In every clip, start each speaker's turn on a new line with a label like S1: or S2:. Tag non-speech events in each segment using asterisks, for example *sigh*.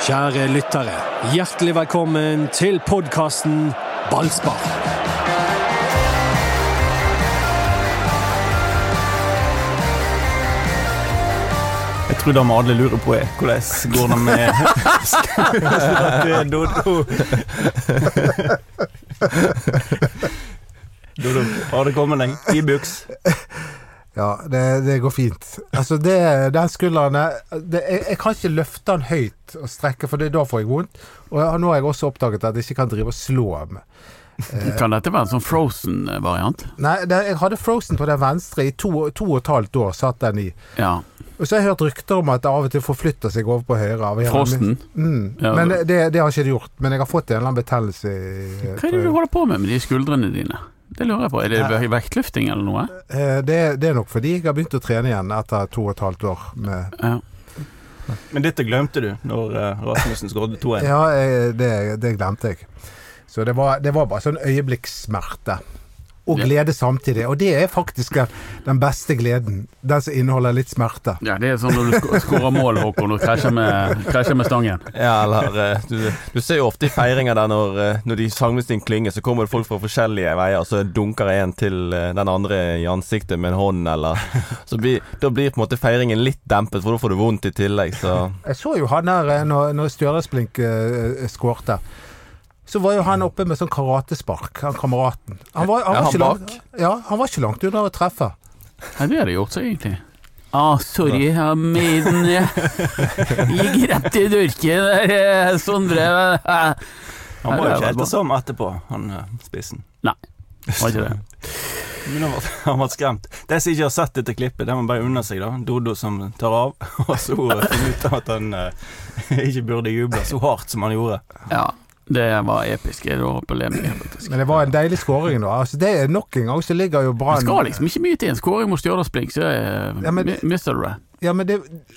S1: Kjære lyttere, hjertelig velkommen til podkasten Ballspar.
S2: Jeg tror da må alle lure på er, hvordan går det med Skal- Dodo. Dodo, har det kommet deg? I buks.
S3: Ja, det, det går fint. Altså, det, den skulderen er- det, jeg, jeg kan ikke løfte den høyt og strekke, for det, da får jeg vondt. Og jeg, nå har jeg også oppdaget at jeg ikke kan drive og slå med. Eh,
S4: Kan dette være en sånn Frozen-variant?
S3: Nei, det, jeg hadde Frozen på den venstre i to, to og et halvt år, satt den i.
S4: Ja.
S3: Og så har jeg hørt rykter om at det av og til forflytter seg over på høyre. Av en eller annen-
S4: Frosten?
S3: Mm.
S4: Ja,
S3: men
S4: det-
S3: det, det har ikke det gjort. Men jeg har fått en eller annen betennelse. i-
S4: Hva er det du holder på med med de skuldrene dine? Det lurer jeg på. Er det
S3: Ja.
S4: ve- vektløfting eller noe?
S3: Eh, det, det er nok fordi jeg har begynt å trene igjen etter to og et halvt år med
S4: Ja.
S2: Men dette glemte du når eh, Rasmussen skåret 2-1.
S3: Ja, eh, det, det glemte jeg. Så det var, det var bare sånn øyeblikkssmerte. Og
S4: Ja.
S3: glede samtidig. Og det er faktisk den- den beste gleden. Den som inneholder litt smerte.
S4: ja, det er sånn når du sk- skårer mål, Håkon, og krasjer med, krasjer med stangen.
S5: Ja, eller eh, du, du ser jo ofte i feiringer der når, eh, når de sangmestingen klinger, så kommer det folk fra forskjellige veier, og så dunker en til eh, den andre i ansiktet med en hånd, eller Så blir- da blir på en måte feiringen litt dempet, for da får du vondt i tillegg, så
S3: Jeg så jo han der eh, når, når Stjørdalsblink eh, eh, skårte. Så var jo han oppe med sånn karatespark, han kameraten. Han var, han var,
S5: Ja, han
S3: ikke, langt, ja, han var ikke langt unna å treffe.
S4: Ja, det hadde gjort seg, egentlig. Ah, sorry,
S3: *laughs*
S4: jeg made den jeg Gikk rett i dørken der, eh, Sondre. Eh,
S2: Han var
S4: Ja,
S2: jo
S4: det
S2: ikke
S4: var bra.
S2: ettersom etterpå, han eh, spissen.
S4: Var ikke det?
S2: *laughs* Men han var, han var skremt. De som ikke har sett dette klippet, de må bare unne seg, da. Dodo som tar av, *laughs* og så eh, finner ut at han eh, *laughs* ikke burde juble så hardt som han gjorde.
S4: Ja, det var episk. Jeg lå på lemningen, faktisk.
S3: Men det var en deilig skåring, da. Altså, det er nok en gang så ligger jo
S4: Det
S3: Brann
S4: skal liksom ikke mye til en skåring mot Stjørdalsblink, så eh,
S3: Ja, men-
S4: mi- mister du det.
S3: Ja, men det,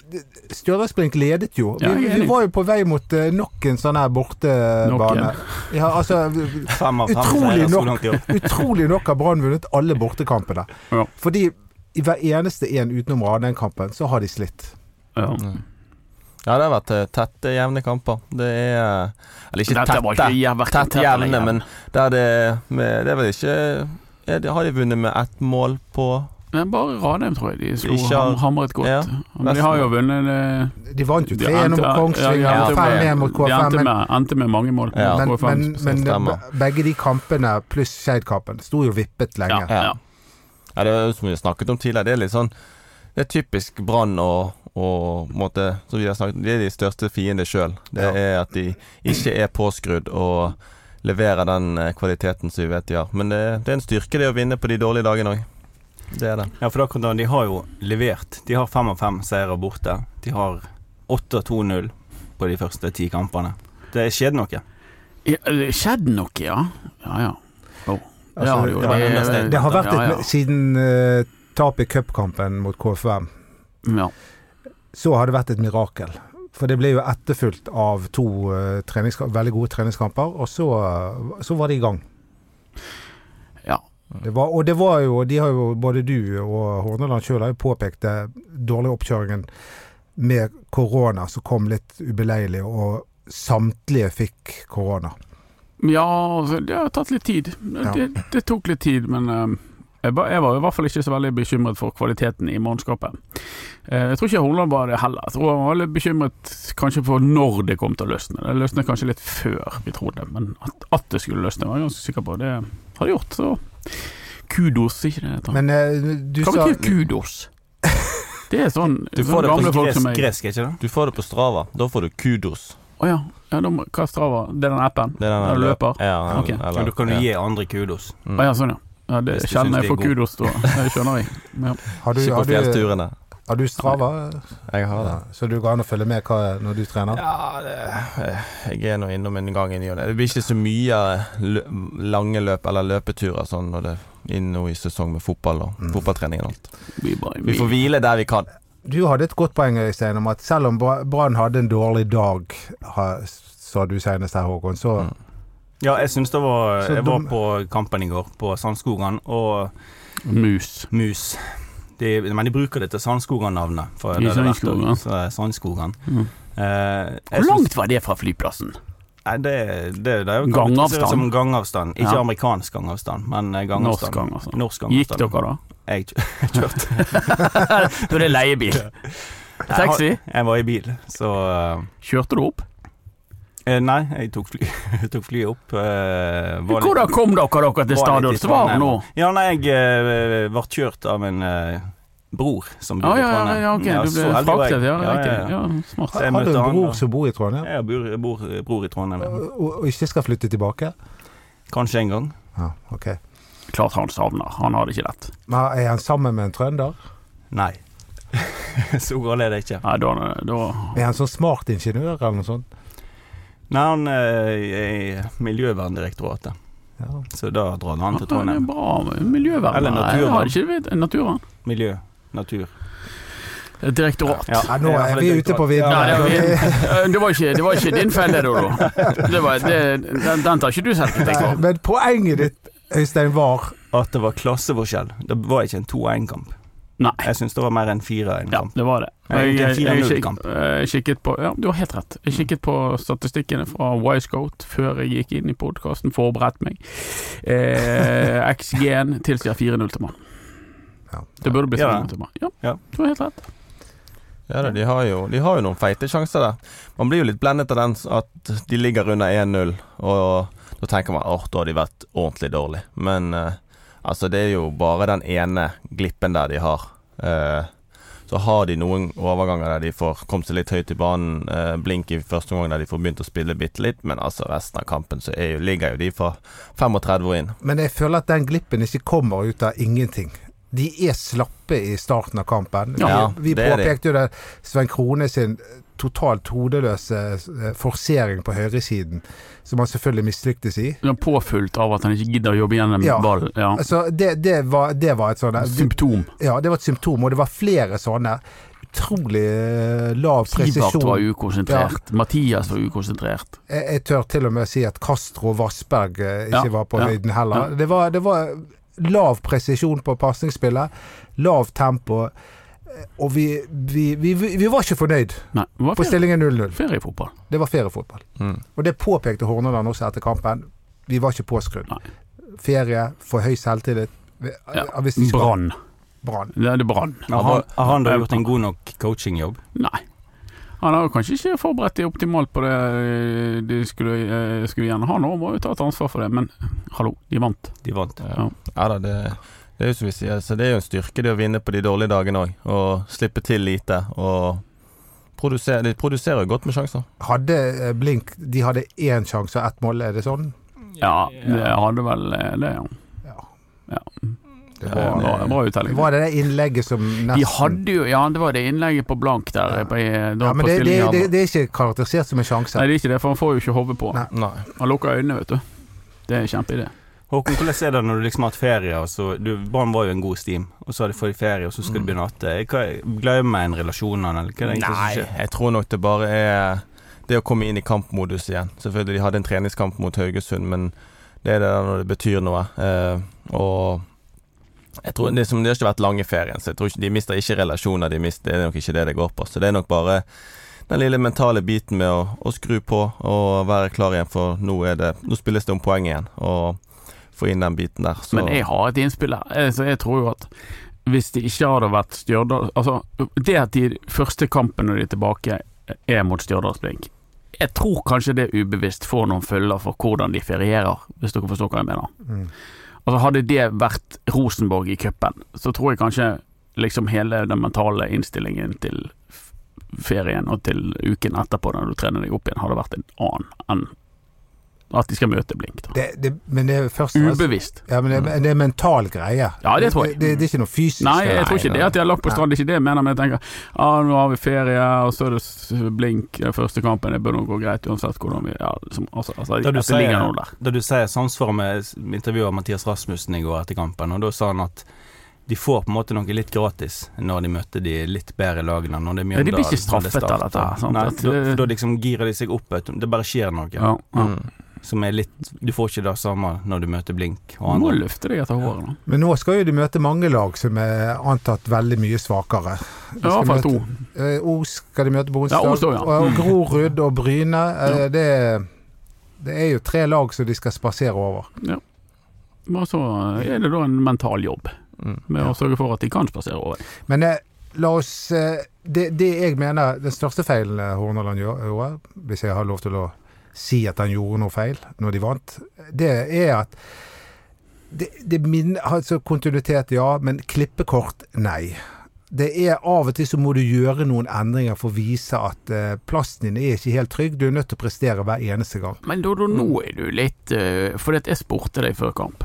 S3: det Stjørdalsblink ledet jo. Vi,
S4: Ja, jeg er
S3: vi
S4: enig.
S3: var jo på vei mot eh, nok en sånn her
S4: Nok
S3: bortebane.
S4: en.
S3: *laughs* Ja, altså v-
S2: Fem av fem
S3: Utrolig
S2: seier så
S3: nok.
S2: langt i år.
S3: Utrolig nok har Brann vunnet alle bortekampene.
S4: Ja.
S3: Fordi i hver eneste en utenom Ranheim-kampen, så har de slitt.
S4: Ja.
S5: Mm. Ja, det har vært eh, tette, jevne kamper. Det er eh, Eller ikke
S4: Dette var
S5: tette,
S4: ikke jævla
S5: tett jevne, men der det med, Det er vel ikke er det, Har de vunnet med ett mål på
S4: Men bare Ranheim, tror jeg. De slo
S5: Ikke-
S4: ham, hamret godt.
S5: Ja,
S4: men de har jo vunnet eh,
S3: De vant jo
S4: de
S3: 3-1 mot
S4: endte- ja,
S3: Kongsvinger,
S4: de endte
S3: og 5-1 mot
S4: med- De
S3: KFM.
S4: endte
S3: Men,
S4: med, endte med mange mål.
S5: Ja.
S3: men,
S4: KFM.
S3: men, men
S5: stemmer.
S3: be- begge de kampene pluss Skeid-kampen sto jo vippet
S4: ja,
S3: lenge.
S4: ja.
S5: Ja. Ja, det er jo som vi har snakket om tidligere, det er litt sånn Det er typisk Brann og, og på en måte, som vi har snakket om, de er de største fiendene sjøl. Det
S3: Ja.
S5: er at de ikke er påskrudd og leverer den eh, kvaliteten som vi vet de har. Men det, det er en styrke det å vinne på de dårlige dagene òg. Det er det.
S2: Ja, for da kan du- de har jo levert. De har fem av fem seire borte. De har 8-2-0 på de første ti kampene. Det skjedde noe.
S4: Ja, det skjedde noe, ja. Ja, ja. Oh. Det
S3: Altså,
S4: har det jo.
S3: ja,
S4: Det-
S3: Det har vært et,
S4: ja, ja.
S3: siden eh, tapet i cupkampen mot KFM.
S4: ja.
S3: så har det vært et mirakel. For det ble jo etterfulgt av to eh, treningska- veldig gode treningskamper, og så, eh, så var de i gang.
S4: Ja.
S3: Det var, og det var jo, de har jo, både du og Horneland sjøl har jo påpekt det dårlige oppkjøringen med korona som kom litt ubeleilig, og samtlige fikk korona.
S4: Ja, altså, det har tatt litt tid. Det, det tok litt tid, men eh, jeg, ba, jeg var i hvert fall ikke så veldig bekymret for kvaliteten i mannskapet. Eh, jeg tror ikke Holland var det heller. Jeg tror han var litt bekymret kanskje for når det kom til å løsne. Det løsnet kanskje litt før vi trodde, men at, at det skulle løsne var jeg ganske sikker på. Det har det gjort, så kudos, ikke det heter.
S3: Men eh, du
S4: Hva
S3: sa
S4: betyr kudos? Det er sånn
S5: Du får
S4: sånn
S5: det
S4: gamle
S5: på
S4: folk
S2: Gresk,
S4: som jeg
S2: gresk, er ikke det?
S5: Du får det på Strava. Da får du kudos.
S4: Å ja, ja da må- hva er Strava? Det er den appen?
S5: Det er den
S4: Når du løper?
S5: Ja,
S4: Ok.
S2: Men du kan jo
S5: ja.
S2: gi andre kudos.
S5: Mm.
S4: Å ja, sånn ja. ja det
S2: Hvis
S4: er
S2: du
S4: sjelden
S2: synes
S4: jeg
S2: de er
S4: får
S2: gode.
S4: kudos, da. Det skjønner jeg. Ja.
S3: har du,
S5: Ikke på
S3: har, du,
S5: fjellturene.
S3: har du Strava?
S5: Jeg har det.
S3: Ja, så du går an å følge med hva, når du trener?
S5: Ja, det, jeg er nå innom en gang i ny og ne. Det blir ikke så mye eh, lø lange løp eller løpeturer sånn når det er inn nå i sesong med fotball og
S3: Mm.
S5: fotballtrening og alt.
S4: Vi bare,
S5: Vi får hvile der vi kan.
S3: Du hadde et godt poeng Øystein, om at selv om Bra- Brann hadde en dårlig dag, ha- sa du senest her, Håkon, så
S5: Mm.
S2: Ja, jeg syns det var
S3: Så
S2: Jeg var
S3: dum-
S2: på kampen i går, på Sandskogan, og
S4: Mus.
S2: Mus. De, men de bruker det til Sandskogan-navnet. for
S4: I
S2: det er det verdt å-
S4: Sandskogan.
S2: så er Sandskogan.
S5: Eh,
S4: Hvor langt var det fra flyplassen?
S2: Nei, det, det, det er jo
S4: Gangavstand.
S2: Som gangavstand. Ikke
S4: Ja.
S2: amerikansk gangavstand, men eh,
S4: Norsk
S2: gangavstand.
S4: gang, altså.
S2: Norsk
S4: Gikk
S2: gangavstand.
S4: dere da?
S2: Jeg kjø- kjørte.
S4: Når det er
S2: *laughs*
S4: leiebil. Taxi?
S2: Jeg var i bil, så eh,
S4: Kjørte du opp?
S2: Eh, nei, jeg tok, fly, *laughs* jeg tok flyet opp. eh, var litt-
S4: Hvordan kom dere dere til
S2: var litt i
S4: stadion? Svar
S2: Trondheim.
S4: nå!
S2: Ja, nei, jeg eh, ble kjørt av en eh, bror som bodde i
S4: Ja, ja, ja,
S2: Trondheim.
S4: ja ok. Du
S2: så
S4: ble
S2: heldig var jeg.
S4: fraktet, ja.
S2: Ja, ja,
S4: Riktig.
S2: ja.
S4: Ja, smart.
S2: Så jeg
S3: Har du
S2: møtte
S3: en
S2: han,
S3: bror
S2: da.
S3: som bor i Trondheim,
S2: Jeg bor, bor, bror i Trondheim. ja.
S3: og, og ikke skal flytte tilbake?
S2: Kanskje en gang.
S3: Ja, ok.
S4: Klart han savner. Han har det ikke lett.
S3: Men er han sammen med en trønder?
S2: Nei. *laughs* så gal er det ikke.
S4: Nei, da, da
S3: Er han sånn smart ingeniør eller noe sånt?
S2: Nei, han eh, er i Miljøverndirektoratet,
S3: Ja.
S2: så da drar han til
S4: Ja, det er
S2: Trondheim.
S4: bra miljøvern.
S2: Eller naturvern.
S4: Jeg har ikke vet- Naturvern.
S2: Miljø, natur.
S4: Et Direktorat.
S2: Ja,
S3: Ja, nå er vi ute på vidden.
S4: Ja, det, var, eh, det, var ikke, det var ikke din felle, Dodo. Det var, det, den, den tar ikke du selv kritikk for.
S3: *laughs* Men poenget ditt, Øystein, var
S2: At det var klasseforskjell. Det var ikke en 2-1-kamp.
S4: Nei.
S2: Jeg syns det var mer en
S4: Ja,
S2: 4-1-kamp.
S4: det var det.
S2: Jeg gikk en
S4: kik- eh,
S2: 4-0-kamp.
S4: jeg kikket på Ja, du har helt rett.
S3: Mm.
S4: Jeg kikket på statistikkene fra Wisecoat før jeg gikk inn i podkasten, forberedte meg.
S3: *laughs*
S4: Eh, XG-en tilsier 4-0 til mann.
S3: Ja.
S4: Det burde blitt
S2: Ja.
S4: 4-0 til mann. Ja,
S2: Ja.
S4: du har helt rett.
S5: Ja da, de har, jo, de har jo noen feite sjanser der. Man blir jo litt blendet av den s- at de ligger under 1-0, og da tenker man åh, da har de vært ordentlig dårlig. Men eh, altså, det er jo bare den ene glippen der de har. Eh, så har de noen overganger der de får kommet seg litt høyt i banen. Eh, blink i første omgang der de får begynt å spille bitte litt, men altså resten av kampen så er jo, ligger jo de fra 35 og inn.
S3: Men jeg føler at den glippen ikke kommer ut av ingenting. De er slappe i starten av kampen.
S5: Ja,
S3: vi vi
S5: det er de.
S3: påpekte jo det Svein Krone sin totalt hodeløse eh, forsering på høyresiden, som han selvfølgelig mislyktes i.
S4: Du er påfulgt av at han ikke gidder å jobbe gjennom
S3: Ja.
S4: ballen. Ja.
S3: Altså, det, det, var, det var et sånn
S4: Symptom.
S3: Ja, det var et symptom, og det var flere sånne. Utrolig eh, lav
S4: Sivert var
S3: presisjon.
S4: ukonsentrert. Mathias var ukonsentrert.
S3: Jeg, jeg tør til og med si at Castro og Vassberg eh, ikke
S4: Ja,
S3: var på
S4: ja,
S3: høyden heller. Det, var, det var lav presisjon på pasningsspillet, lav tempo, eh, og vi, vi, vi, vi, vi var ikke fornøyd
S4: Nei, det var
S3: på
S4: ferie,
S3: stillingen 0-0.
S4: feriefotball.
S3: Det var feriefotball.
S5: Mm.
S3: Og det påpekte Horneland også etter kampen. Vi var ikke påskrudd.
S4: Nei.
S3: Ferie, for høy selvtillit. Vi-
S4: Ja,
S3: ja, hvis de skal-
S4: Brann.
S3: Brann.
S4: Det er det brann.
S2: Har han, har han da gjort en god nok coachingjobb?
S4: Nei. Han har jo kanskje ikke forberedt dem optimalt på det eh, de skulle, eh, skulle gjerne ha nå. Må jo ta et ansvar for det, men hallo, de vant.
S2: De vant.
S5: Ja da, det, det er jo som vi sier, så det er jo en styrke det å vinne på de dårlige dagene òg. Og slippe til lite. Og produsere, de produserer jo godt med sjanser.
S3: Hadde eh, Blink De hadde én sjanse og ett mål, er det sånn?
S4: Ja, det hadde vel eh, det, ja.
S3: Det
S5: Ja,
S3: var,
S4: Bra, bra uttelling.
S3: var det det innlegget som nesten
S4: De hadde jo Ja, det var det innlegget på blank der.
S3: Ja.
S4: På, eh, da
S3: Ja, men
S4: på
S3: det, det,
S4: stillingen
S3: det,
S4: her.
S3: det er ikke karakterisert som en sjanse.
S4: Nei, det er ikke det, for han får jo ikke hodet på.
S3: Nei.
S5: Nei.
S4: Han lukker øynene, vet du. Det er en kjempeidé.
S2: Håkon, hvordan er det når du liksom har hatt ferie, og så du, Brann var jo en god steam, og så har de fått ferie, og så
S5: Mm.
S2: skal du begynne å atte. Hva, glemmer en relasjonene, eller hva er det egentlig som
S5: Nei,
S2: skjer?
S5: jeg tror nok det bare er det å komme inn i kampmodus igjen. Selvfølgelig, de hadde en treningskamp mot Haugesund, men det er det der når det betyr noe. Eh, og jeg tror det, er som, det har ikke vært lange ferien, så jeg tror ikke, de mister ikke relasjoner. De mister, det er nok ikke det det går på. Så det er nok bare den lille mentale biten med å, å skru på og være klar igjen, for nå, er det, nå spilles det om poeng igjen. Og få inn den biten der. Så
S4: Men jeg har et innspill her. Eh, Så jeg tror jo at hvis det ikke hadde vært Stjørdal Altså, det at de første kampen når de er tilbake, er mot Stjørdalsblink Jeg tror kanskje det ubevisst får noen følger for hvordan de ferierer, hvis dere forstår hva jeg mener.
S3: Mm.
S4: Altså Hadde det vært Rosenborg i cupen, så tror jeg kanskje liksom hele den mentale innstillingen til f- ferien og til uken etterpå, når du trener deg opp igjen, hadde vært en annen enn at de skal møte Blink. da
S3: Det, det, men det er først og fremst
S4: Ubevisst.
S3: ja, men det, men det er en mental greie.
S4: Ja, det tror
S3: Det,
S4: jeg.
S3: det, det er ikke noe fysisk.
S4: Nei, jeg tror ikke
S5: nei,
S4: det at de har lagt på strand. Det er ikke det jeg mener, men jeg tenker ja, nå har vi ferie, og så er det s- blink eh, første kampen. Det bør nå gå greit uansett hvordan vi ja, liksom, altså, altså,
S2: Da du
S4: at det ligger
S2: sier-
S4: noe der.
S2: Da du sier samsvaret med s- intervjuet av Mathias Rasmussen i går etter kampen, og da sa han at de får på en måte noe litt gratis når de møter de litt bedre lagene. Når det er
S4: Ja, de
S2: Mjøndalen.
S4: blir ikke straffet
S2: når det er Start.
S4: av dette, sant?
S2: Nei,
S4: At-
S2: da, da liksom girer de seg opp, vet du. Det bare skjer noe.
S4: Ja, ja.
S5: mm.
S2: Som er litt Du får ikke det samme når du møter Blink og
S3: Mm.
S4: Du må
S2: andre.
S4: løfte deg etter håret. nå.
S3: Men nå skal jo de møte mange lag som er antatt veldig mye svakere.
S4: I hvert fall to.
S3: Eh, Os skal de møte på onsdag.
S4: Ja, onsdag, ja. Mm.
S3: Og og Grorud og Bryne. eh,
S4: Ja.
S3: Det, det er jo tre lag som de skal spasere over.
S4: Og så eh, er det da en mental jobb
S5: Mm.
S4: med å sørge for at de kan spasere over.
S3: Men eh, la oss eh, det, det jeg mener den største feilen eh, Horneland gjør, gjorde, hvis jeg har lov til å si at han gjorde noe feil når de vant, det er at det, det min, altså Kontinuitet, ja, men klippekort, nei. Det er Av og til så må du gjøre noen endringer for å vise at eh, plassen din er ikke helt trygg. Du er nødt til å prestere hver eneste gang.
S4: Men Dodo, nå er du litt uh, Fordi at jeg spurte deg før kamp.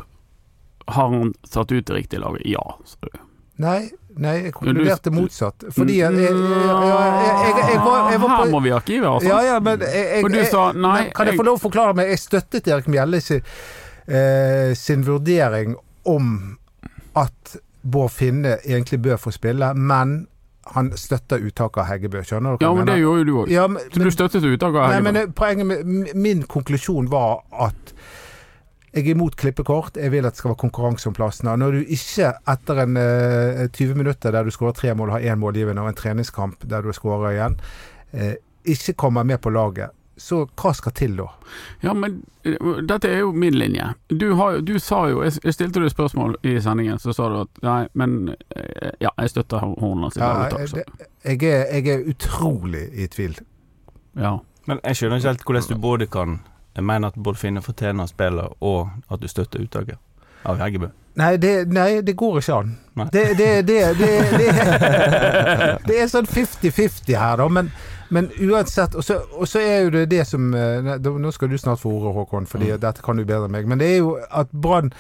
S4: Har han satt ut det riktige laget? Ja, sa du.
S3: Nei, nei jeg
S4: Men du-
S3: konkluderte motsatt. Fordi jeg, jeg, jeg, jeg, jeg, jeg, jeg, var, jeg var
S4: Her
S3: på
S4: må vi ha arkivet, altså.
S3: Ja, ja, men jeg, jeg,
S4: For du
S3: jeg,
S4: sa, nei,
S3: men Kan jeg
S4: jeg-
S3: få lov å forklare meg? Jeg støttet Erik Mjelle sin, eh, sin vurdering om at Bård Finne egentlig bør få spille, men han støtter uttaket av Heggebø. Skjønner du hva
S4: Ja, men det gjorde jo du òg.
S3: Ja, men,
S4: Så du støttet uttaket av
S3: nei,
S4: Helgeberg?
S3: men eh, poenget med m- Min konklusjon var at jeg er imot klippekort. Jeg vil at det skal være konkurranse om plassene. Når du ikke etter en eh, 20 minutter der du skårer tre mål, har én målgivende og en treningskamp der du skårer igjen, eh, ikke kommer med på laget, så hva skal til da?
S4: Ja, men eh, dette er jo min linje. Du, har, jo- du sa jo Jeg jeg stilte deg et spørsmål i sendingen, så sa du at nei, men eh, Ja, jeg støtter altså. Horneland sitt
S3: Ja, eh,
S4: uttak. så-
S3: det, jeg, er, jeg er utrolig i tvil.
S4: Ja.
S2: Men jeg skjønner ikke helt hvordan du både kan Jeg mener at Bård Finne fortjener å spille, og at du støtter uttaket av Heggebø.
S3: Nei, det, nei, det går ikke an.
S2: Nei.
S3: Det, det, det, det, det, det er sånn 50-50 her, da. Men, men uansett Og så og så er jo det det som eh, nei, da- Nå skal du snart få ordet, Håkon, Fordi dette kan du bedre enn meg. Men det er jo at Brann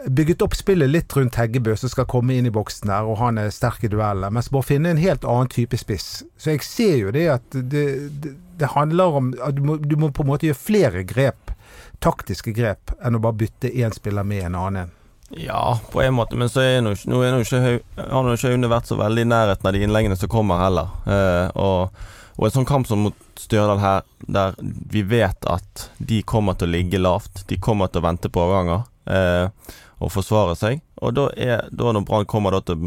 S3: bygget opp spillet litt rundt Heggebø, som skal komme inn i boksen der, og han er sterk i dueller. Mens Bård Finne er en helt annen type spiss. Så jeg ser jo det at det, det, det handler om at du må, du må på en måte gjøre flere grep. Taktiske grep enn å bare bytte én spiller med en annen.
S5: Ja, på en måte, men så er nå, ikke- nå er nå ikke, Hau- har nå ikke Aune vært så veldig i nærheten av de innleggene som kommer heller. Eh, og, og en sånn kamp som mot Stjørdal her, der vi vet at de kommer til å ligge lavt, de kommer til å vente på avganger eh, og forsvare seg, og da er da når Brann kommer da til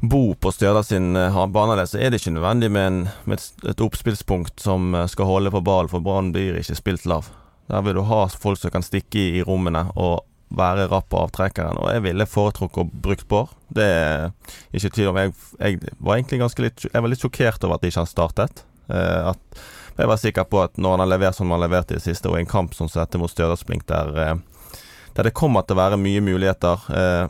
S5: bo på Stjørdal sin eh, banedel, så er det ikke nødvendig med, en, med et, et oppspillspunkt som eh, skal holde på ballen, for Brann blir ikke spilt lav. Der vil du ha folk som kan stikke i, i rommene og være rapp på avtrekkeren. Og jeg ville foretrukket å bruke Bård. Det er ikke tvil om. Jeg, jeg var egentlig ganske litt, jeg var litt sjokkert over at ikke han startet. Eh, at, jeg var sikker på at når han har levert som han leverte i det siste, og i en kamp som dette mot Stjørdalsblink, der, eh, der det kommer til å være mye muligheter, eh,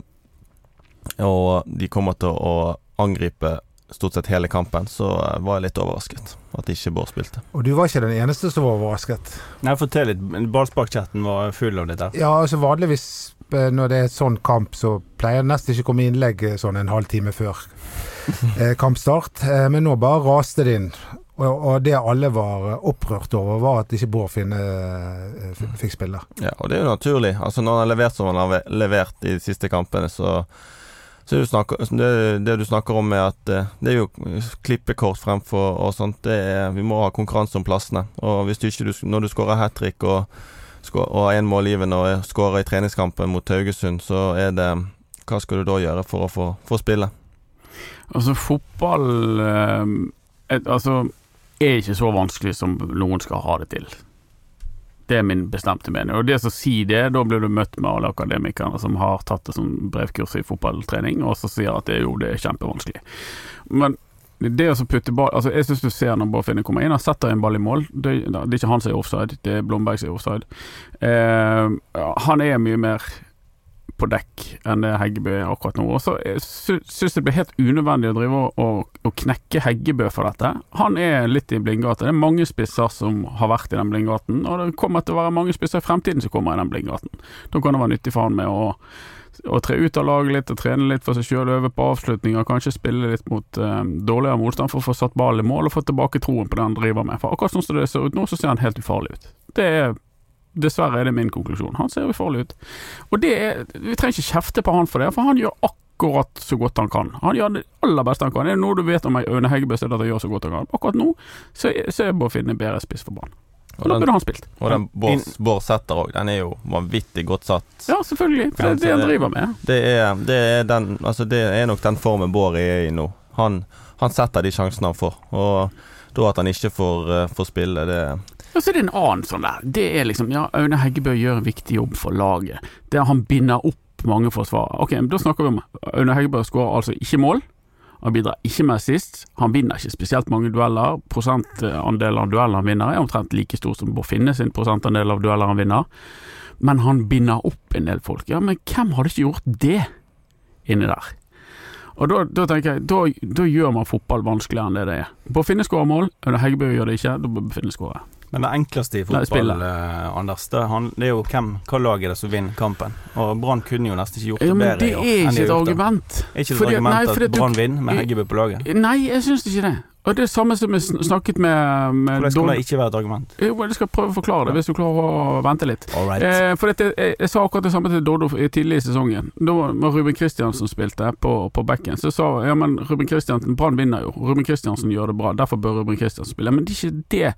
S5: og de kommer til å angripe stort sett hele kampen, så eh, var jeg litt overrasket at ikke Bård spilte.
S3: Og du var ikke den eneste som var overrasket.
S2: Nei, fortell litt. Ballsparkchatten var full av dette.
S3: Ja, altså vanligvis eh, når det er sånn kamp, så pleier det nesten ikke å komme innlegg eh, sånn en halvtime før eh, kampstart. Eh, men nå bare raste det inn. Og, og det alle var eh, opprørt over, var at ikke Bård Finne eh, f- fikk spille.
S5: Ja, og det er jo naturlig. Altså Når han har levert som han har ve- levert i de siste kampene, så, så er det, jo snakk- det, det du snakker om med at eh, det er jo klippekort fremfor og sånt, det er, vi må ha konkurranse om plassene. Og hvis du ikke du, Når du skårer hat trick og, skå- og har én målgivende og skårer i treningskampen mot Haugesund, så er det Hva skal du da gjøre for å få, få spille?
S4: Altså, fotball eh, et, Altså, er ikke så vanskelig som noen skal ha det til. Det er min bestemte mening. Og det som sier det, da blir du møtt med alle akademikerne som har tatt det som brevkurs i fotballtrening, og så sier at det, jo, det er kjempevanskelig. Men det å så putte ball Altså, jeg syns du ser når Bård Finne kommer inn, han setter en ball i mål. Det, det er ikke han som er offside, det er Blomberg som er offside. Eh, ja, han er mye mer på dekk enn det Heggebø er akkurat nå. Og så eh, sy- syns jeg det blir helt unødvendig å drive og, og, og knekke Heggebø for dette. Han er litt i blindgata. Det er mange spisser som har vært i den blindgaten, og det kommer til å være mange spisser i fremtiden som kommer i den blindgaten. Da kan det være nyttig for han med å, å tre ut av laget litt, og trene litt for seg sjøl, øve på avslutninger, kanskje spille litt mot eh, dårligere motstand for å få satt ballen i mål og få tilbake troen på det han driver med. For akkurat sånn som det ser ut nå, så ser han helt ufarlig ut. Det er Dessverre er det min konklusjon. Han ser ufarlig ut. Og det er, Vi trenger ikke kjefte på han for det, for han gjør akkurat så godt han kan. Han gjør det aller beste han kan. Er det noe du vet om Aune Heggebø, så er det at han gjør så godt han kan. Akkurat nå så, er- så er Bård Finne bedre spiss for banen.
S5: Og
S4: Og da
S5: den,
S4: burde han spilt.
S5: og den Bård, Bård Sæther òg. Den er jo vanvittig godt satt.
S4: Ja, selvfølgelig. For det er det han driver med.
S5: Det er, det er, den, altså det er nok den formen Bård er i nå. Han, han setter de sjansene han får. Og da at han ikke får, eh, får spille, det
S4: Og så er det en annen sånn der. Det er liksom Ja, Aune Heggebø gjør en viktig jobb for laget. Der han binder opp mange forsvarere. Ok, men da snakker vi om Aune Heggebø skårer altså ikke mål. Han bidrar ikke med assist. Han vinner ikke spesielt mange dueller. Prosentandelen av dueller han vinner er omtrent like stor som Bård Finne sin prosentandel av dueller han vinner. Men han binder opp en del folk. Ja, men hvem hadde ikke gjort det inni der? Og da, da tenker jeg, da, da gjør man fotball vanskeligere enn det det er. Bård Finne skårer mål, Aune Heggebø gjør det ikke, da bør Finne skåre.
S2: Men det enkleste i
S4: Nei, spillet.
S2: fotball, eh, Anders, det, han, det er jo hvem, hva lag er det som vinner kampen. Og Brann kunne jo nesten ikke gjort det
S4: Ja, men
S2: bedre
S4: det
S2: i år
S4: er
S2: enn
S4: ikke
S2: de
S4: et
S2: har gjort det.
S4: argument.
S2: Er ikke det
S4: Fordi-
S2: et
S4: nei,
S2: argument
S4: fordi
S2: at
S4: du-
S2: Brann vinner med
S4: i- Eh,
S2: Heggebø på laget?
S4: Nei, jeg syns ikke det. Og det er samme som vi sn- snakket med, med
S2: Hvordan kan
S4: Don-
S2: det ikke være et argument?
S4: Jo, jeg skal prøve å forklare det, hvis du klarer å vente litt. Eh, for dette, jeg, jeg sa akkurat det samme til Doddo i- tidlig i sesongen. Da var var Ruben Kristiansen spilte på, på bekken. Så jeg sa ja, men Ruben Kristiansen, Brann vinner jo. Ruben Kristiansen gjør det bra, derfor bør Ruben Kristiansen spille. Men det er ikke det.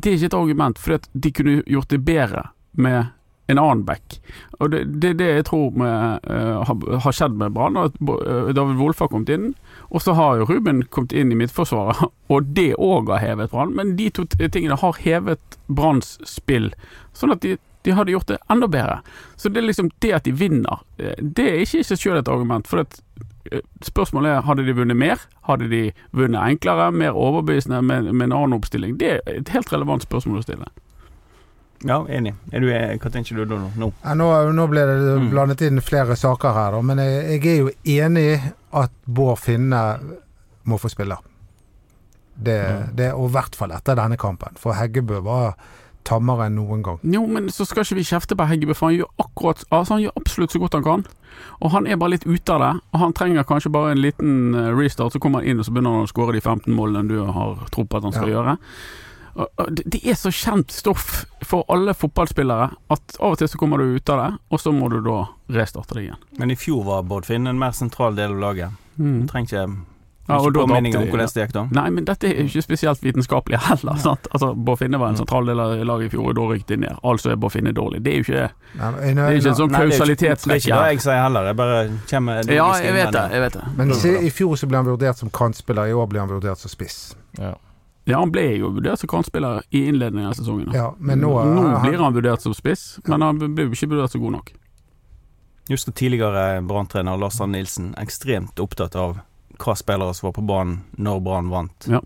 S4: Det er ikke et argument, for de kunne gjort det bedre med en annen back. Og det det er det jeg tror med, eh, har, har skjedd med Brann. og at Bo- eh, David Wolff har kommet inn, og så har jo Ruben kommet inn i midtforsvaret. *laughs* Og det òg har hevet Brann, men de to t- tingene har hevet Branns spill. Sånn at de de hadde gjort det enda bedre. Så det er liksom det at de vinner, eh, det er ikke i seg selv et argument. For at eh, spørsmålet er hadde de vunnet mer? Hadde de vunnet enklere, mer overbevisende med, med en annen oppstilling? Det er et helt relevant spørsmål å stille.
S2: Ja, enig. Er du, eh, hva tenker du da nå? nå?
S3: Ja, nå, nå ble det
S2: Mm.
S3: blandet inn flere saker her, da. Men jeg, jeg er jo enig i at Bård Finne må få spille. Det, det, og i hvert fall etter denne kampen. For Heggebø var tammere enn noen gang.
S4: Jo, men så skal ikke vi kjefte på Heggebø, for han gjør akkurat Altså, han gjør absolutt så godt han kan. Og han er bare litt ute av det. Og han trenger kanskje bare en liten eh, restart, så kommer han inn og så begynner han å skåre de 15 målene du har tro på at han skal
S3: Ja.
S4: gjøre. Og- og Det det er så kjent stoff for alle fotballspillere at av og til så kommer du ut av det, og så må du da restarte det igjen.
S2: Men i fjor var Bård Finn en mer sentral del av laget. Du trenger ikke,
S4: Ja, og
S2: Mm. ikke
S4: da
S2: påminning
S4: tapte
S2: om
S4: de,
S2: hvordan det gikk da.
S4: Nei, men dette er jo ikke spesielt vitenskapelig *laughs* heller. Sant? Altså, Bård Finne
S2: Mm.
S4: var en sentral del av laget i fjor, og da rykket de ned. Altså er Bård Finne dårlig. Det er jo ikke,
S3: Nei, men-
S4: det er ikke en sånn
S2: Nei, det er jo ikke- Det er
S4: kausalitetsrekke.
S2: ikke det
S4: her.
S2: jeg sier heller. Jeg bare kommer med logiske
S4: Ja, jeg vet det.
S2: innvendinger.
S4: jeg vet det
S3: men se, i fjor så ble han vurdert som kantspiller, i år ble han vurdert som spiss.
S5: ja.
S4: Ja, Han ble jo vurdert som kantspiller i innledningen av sesongen.
S3: Ja, men nå,
S4: blir han vurdert som spiss, men han ble jo ikke vurdert så god nok.
S2: Jeg husker tidligere Brann-trener Lars Arne Nilsen ekstremt opptatt av hva spillere som var på banen når Brann vant,
S4: Ja.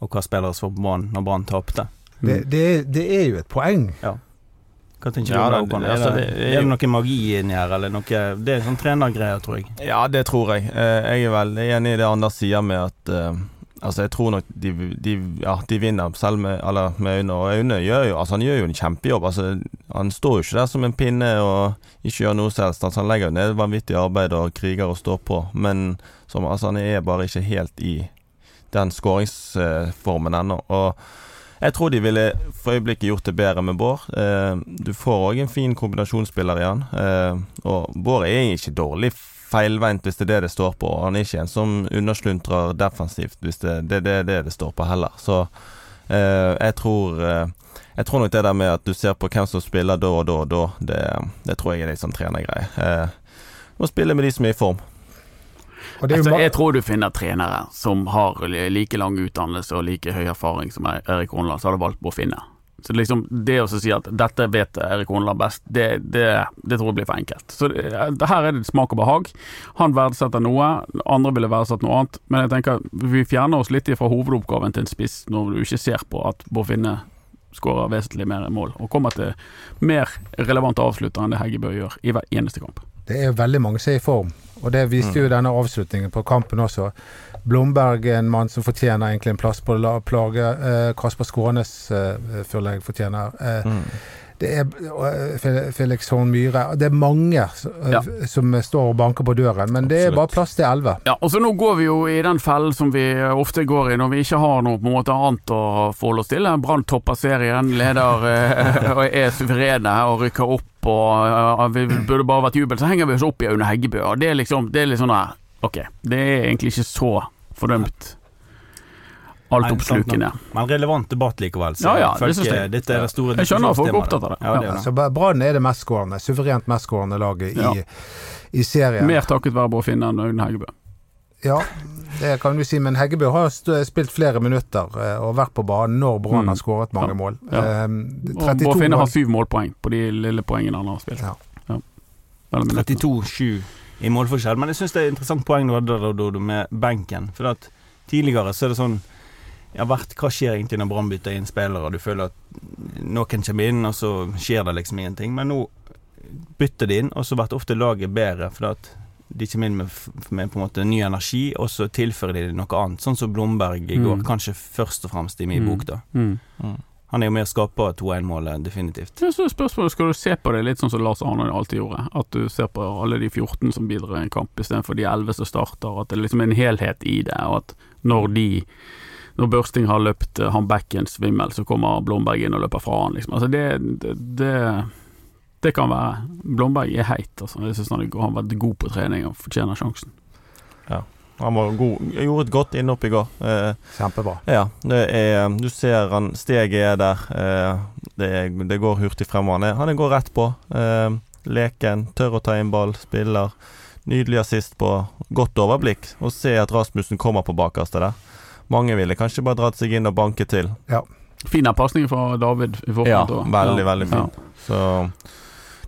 S2: og hva spillere som var på banen når Brann tapte.
S3: det, det, er- det er jo et poeng.
S2: Hva tenker
S5: Ja,
S2: du om
S5: det-
S2: det, Håkon?
S5: det- altså,
S2: Er det,
S5: det- det er
S2: er det
S5: jo-
S2: noe magi inni her, eller noe Det er sånn trenergreier, tror jeg.
S5: Ja, det tror jeg. Eh, Jeg er veldig enig i det Anders sier med at eh, Altså, jeg tror nok de, de, ja, de vinner, selv med, eller, med Aune. Og Aune gjør jo, altså, han gjør jo en kjempejobb. Altså, han står jo ikke der som en pinne og ikke gjør noe selv. Altså, han legger jo ned vanvittig arbeid og kriger og står på, men som, altså, han er bare ikke helt i den skåringsformen ennå. Og jeg tror de ville for øyeblikket gjort det bedre med Bård. Eh, Du får òg en fin kombinasjonsspiller i han. Eh, Og Bård er ikke dårlig feilvendt, hvis det er det det står på. Og han er ikke en som undersluntrer defensivt, hvis det det er det, det, det står på heller. Så eh, jeg tror eh, Jeg tror nok det der med at du ser på hvem som spiller da og da og da, det, det tror jeg er litt sånn trenergreie. Eh, Må spille med de som er i form.
S3: Og det er jo
S4: Altså,
S3: ma-
S4: jeg tror du finner trenere som har like lang utdannelse og like høy erfaring som E- Erik Horneland, så hadde valgt på å finne. Så liksom Det å så si at 'dette vet Erik Horneland best', det, det, det tror jeg blir for enkelt. Så det, det her er det smak og behag. Han verdsetter noe, andre ville verdsatt noe annet. Men jeg tenker vi fjerner oss litt fra hovedoppgaven til en spiss når du ikke ser på at Bård Finne skårer vesentlig mer mål, og kommer til mer relevante avslutter enn det Heggebø gjør i hver eneste kamp.
S3: Det er veldig mange som er i form, og det viste jo denne avslutningen på kampen også. Blomberg er en mann som fortjener egentlig en plass på la- plaget. Eh, Kasper Skånes eh, føler jeg fortjener. Eh,
S5: Mm.
S3: Det er og, eh, Fe- Felix Horn Myhre. Det er mange s- eh,
S4: Ja.
S3: f- som står og banker på døren, men det
S5: Absolutt.
S3: er bare plass til elleve.
S4: Ja, og så nå går vi jo i den fellen som vi eh, ofte går i når vi ikke har noe på en måte annet å forholde oss til. Brann topper serien, leder eh, *laughs* og er suverene og rykker opp og eh, vi burde bare vært jubel. Så henger vi oss opp i Aune Heggebø, og eh, det er liksom det er litt sånn der Ok, det er egentlig ikke så fordømt. altoppslukende.
S2: Men relevant debatt likevel. Så
S4: Ja, ja, det
S2: folk,
S4: synes jeg.
S2: Dette er det store
S4: Jeg skjønner at folk er
S2: diskusjonstemaet.
S4: opptatt av det.
S2: Ja, det,
S4: Ja.
S2: er det.
S3: Så Bra- Brann er det mestskårende, suverent mestskårende laget i,
S4: Ja.
S3: i serien.
S4: Mer takket være Bård Finne enn Aune Heggebø.
S3: Ja, det kan du si, men Heggebø har st- spilt flere minutter eh, og vært på banen når Brann
S4: Mm.
S3: har skåret mange
S4: Ja.
S3: mål.
S4: Ja.
S3: Eh,
S4: Og Bård
S3: 32
S4: Finne
S3: mål.
S4: har syv målpoeng på de lille poengene han har spilt.
S3: Ja.
S4: Ja. Eller minutter.
S2: 32-7 i målforskjell. Men jeg syns det er et interessant poeng du hadde der, Dodo, med benken. For at tidligere så er det sånn ja, hvert, Hva skjer egentlig når Brann bytter inn spillere? Du føler at noen kommer inn, og så skjer det liksom ingenting. Men nå bytter de inn, og så blir ofte laget bedre. For at de kommer inn med, f- med på en måte ny energi, og så tilfører de noe annet. Sånn som Blomberg i går,
S4: Mm.
S2: kanskje først og fremst i min
S4: Mm.
S2: bok, da.
S4: Mm.
S2: Han er jo med å skape 2-1-målet, definitivt.
S4: Jeg synes spørsmålet Skal du se på det litt sånn som Lars Arne alltid gjorde? At du ser på alle de 14 som bidrar i en kamp, istedenfor de 11 som starter. At det liksom er en helhet i det. Og at når de Når Børsting har løpt eh, han bekken svimmel, så kommer Blomberg inn og løper fra han, liksom. Altså det Det, det, det kan være. Blomberg er heit, altså. Jeg synes han er- han har vært god på trening og fortjener sjansen.
S5: Han var god. Jeg gjorde et godt innhopp i går. Eh,
S3: Kjempebra.
S5: ja, det er, du ser han Steget er der. Eh, det, er- det går hurtig fremover. Han, er, han går rett på. Eh, leken, tør å ta inn ball, spiller. Nydelig assist på godt overblikk. Å se at Rasmussen kommer på bakerste der. Mange ville kanskje bare dratt seg inn og banket til.
S4: Fin pasning fra David i forkant.
S5: Ja,
S4: også.
S5: veldig, veldig fin.
S4: Ja.
S5: Så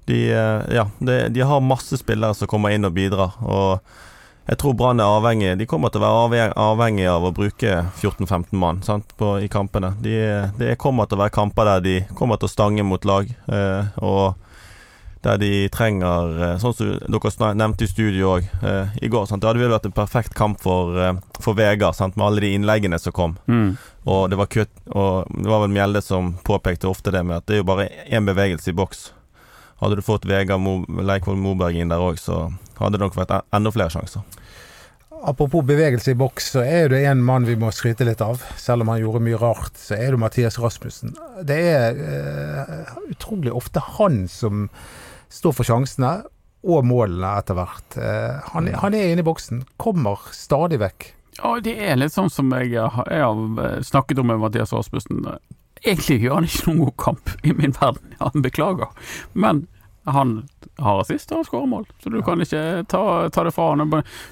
S5: de, eh, ja, de, de har masse spillere som kommer inn og bidrar. Og jeg tror Brann er avhengig De kommer til å være avhe- avhengig av å bruke 14-15 mann sant, på, i kampene. De, det kommer til å være kamper der de kommer til å stange mot lag. Eh, og der de trenger eh, Sånn som dere sna- nevnte i studio òg eh, i går. Sant? Det hadde vel vært en perfekt kamp for, eh, for Vegard, sant, med alle de innleggene som kom.
S4: Mm.
S5: Og det var kutt Og det var vel Mjelde som påpekte ofte det med at det er jo bare én bevegelse i boks. Hadde du fått Vegard Mo Leikvoll Moberg inn der òg, så hadde det nok vært en- enda flere sjanser.
S3: Apropos bevegelse i boks, så er det en mann vi må skryte litt av. Selv om han gjorde mye rart, så er det Mathias Rasmussen. Det er eh, utrolig ofte han som står for sjansene og målene etter hvert. Eh, han, han er inne i boksen, kommer stadig vekk.
S4: Ja, det er litt sånn som jeg har, jeg har eh, snakket om med Mathias Rasmussen. Egentlig gjør han ikke noen god kamp i min verden, han beklager. Men han har assist og han skårer mål, så du kan ikke ta, ta det fra han.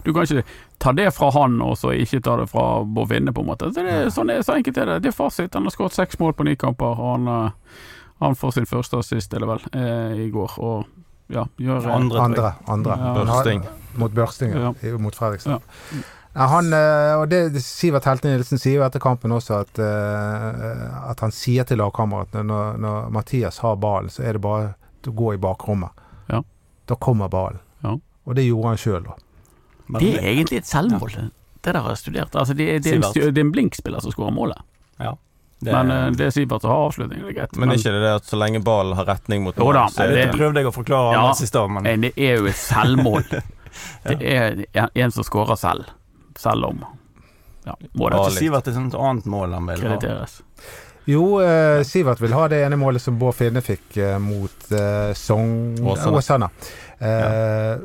S4: Du kan ikke ta det fra han og så ikke ta det fra Bård Finne, på en måte. Så, det, er- sånn er, så enkelt er det. Det er fasit. Han har skåret seks mål på ni kamper. og Han, eh, han får sin første assist, er det vel, eh, i går. Og ja, gjør eh,
S2: Andre, tror jeg.
S3: Andre. andre.
S4: Ja.
S3: Men han-
S5: Børsting.
S3: Mot Børsting, ja. Mot Fredrikstad.
S4: Ja.
S3: Nei, han, eh, og det Sivert Helte Nilsen sier jo etter kampen også, at, eh, at han sier til lagkameratene når, når Mathias har ballen, så er det bare å gå i bakrommet.
S4: Ja.
S3: Da kommer ballen.
S4: Ja.
S3: Og det gjorde han sjøl, da.
S2: Men
S4: Det er egentlig et selvmål. Det der har jeg studert. Altså, det, er- det, er en,
S2: Sivert.
S4: stu- det er en blinkspiller som skårer målet.
S2: det-
S4: Men eh, det er Sivert som har avslutningen, det er greit.
S5: Men er ikke det det at så lenge ballen har retning mot
S4: Jo da,
S5: mål, så er
S4: det-
S5: det
S2: Det prøvde jeg å forklare
S4: Ja.
S2: Anders i stad, men
S4: Men det er jo et
S5: *laughs*
S4: selvmål. Det er en som skårer selv, selv om ja, må det
S2: Kan
S5: Ja,
S2: ikke
S5: litt.
S2: Sivert er et annet mål han vil ha.
S4: krediteres.
S3: Jo, eh, Sivert vil ha det ene målet som Bård Finne fikk eh, mot eh, Sogn
S5: Åsane.
S3: Åsane. Eh,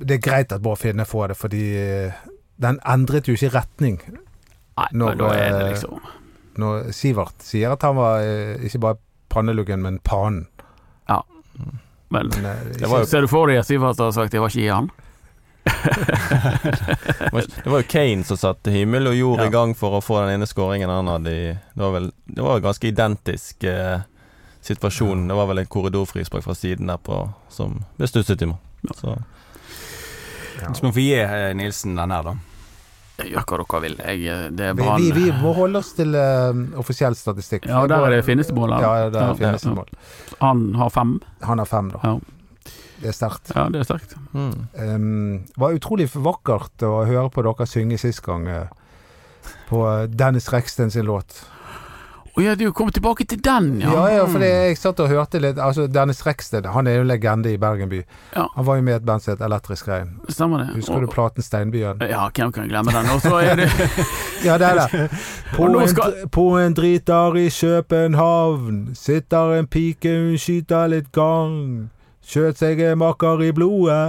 S3: Det er greit at Bård Finne får det, fordi eh, den endret jo ikke retning
S4: Nei,
S3: Når,
S4: men da er det
S3: eh,
S4: liksom
S3: når Sivert sier at han var eh, ikke bare panneluggen, men panen.
S4: Men
S3: Men, eh,
S5: Det var jo-
S4: ser du for deg at Sivert har sagt 'jeg var ikke i han'?
S5: Det var jo Kane som satte himmel og jord
S2: Ja.
S5: i gang for å få den ene skåringen han hadde i Det var vel Det var en ganske identisk eh, situasjon. Det var vel en korridorfrispark fra siden der på som ble stusset i mål. Så
S3: ja.
S2: Så må vi gi eh, Nilsen den her, da.
S4: Gjør hva dere vil. Jeg, eh, det er
S3: vi,
S4: Brann.
S3: vi, vi må holde oss til eh, offisiell statistikk.
S4: Ja, der er det fineste mål,
S3: Ja,
S4: da.
S3: der
S4: Ja,
S3: finnes
S4: ja.
S3: det mål.
S4: Han har fem.
S3: Han har fem, da.
S4: Ja.
S3: Det er sterkt.
S4: Ja, det er sterkt.
S5: mm.
S3: Um, det var utrolig vakkert å høre på dere synge sist gang eh, på eh, Dennis Reksten sin låt.
S4: Å ja, du kom tilbake til den,
S3: Ja, ja, fordi jeg satt og hørte litt Altså, Dennis Reksten, han er jo en legende i Bergen by.
S4: Ja.
S3: Han var jo med i et band som het Elektrisk Rein.
S4: Stemmer det.
S3: Husker du
S4: Og-
S3: platen Steinbyen?
S4: Ja, hvem kan glemme den? Og så er det
S3: *laughs* Ja, det er det. På
S4: Og nå
S3: en,
S4: skal-
S3: dr- på en driter i København sitter en pike, hun skyter litt gang. Skjøt seg en makker i blodet,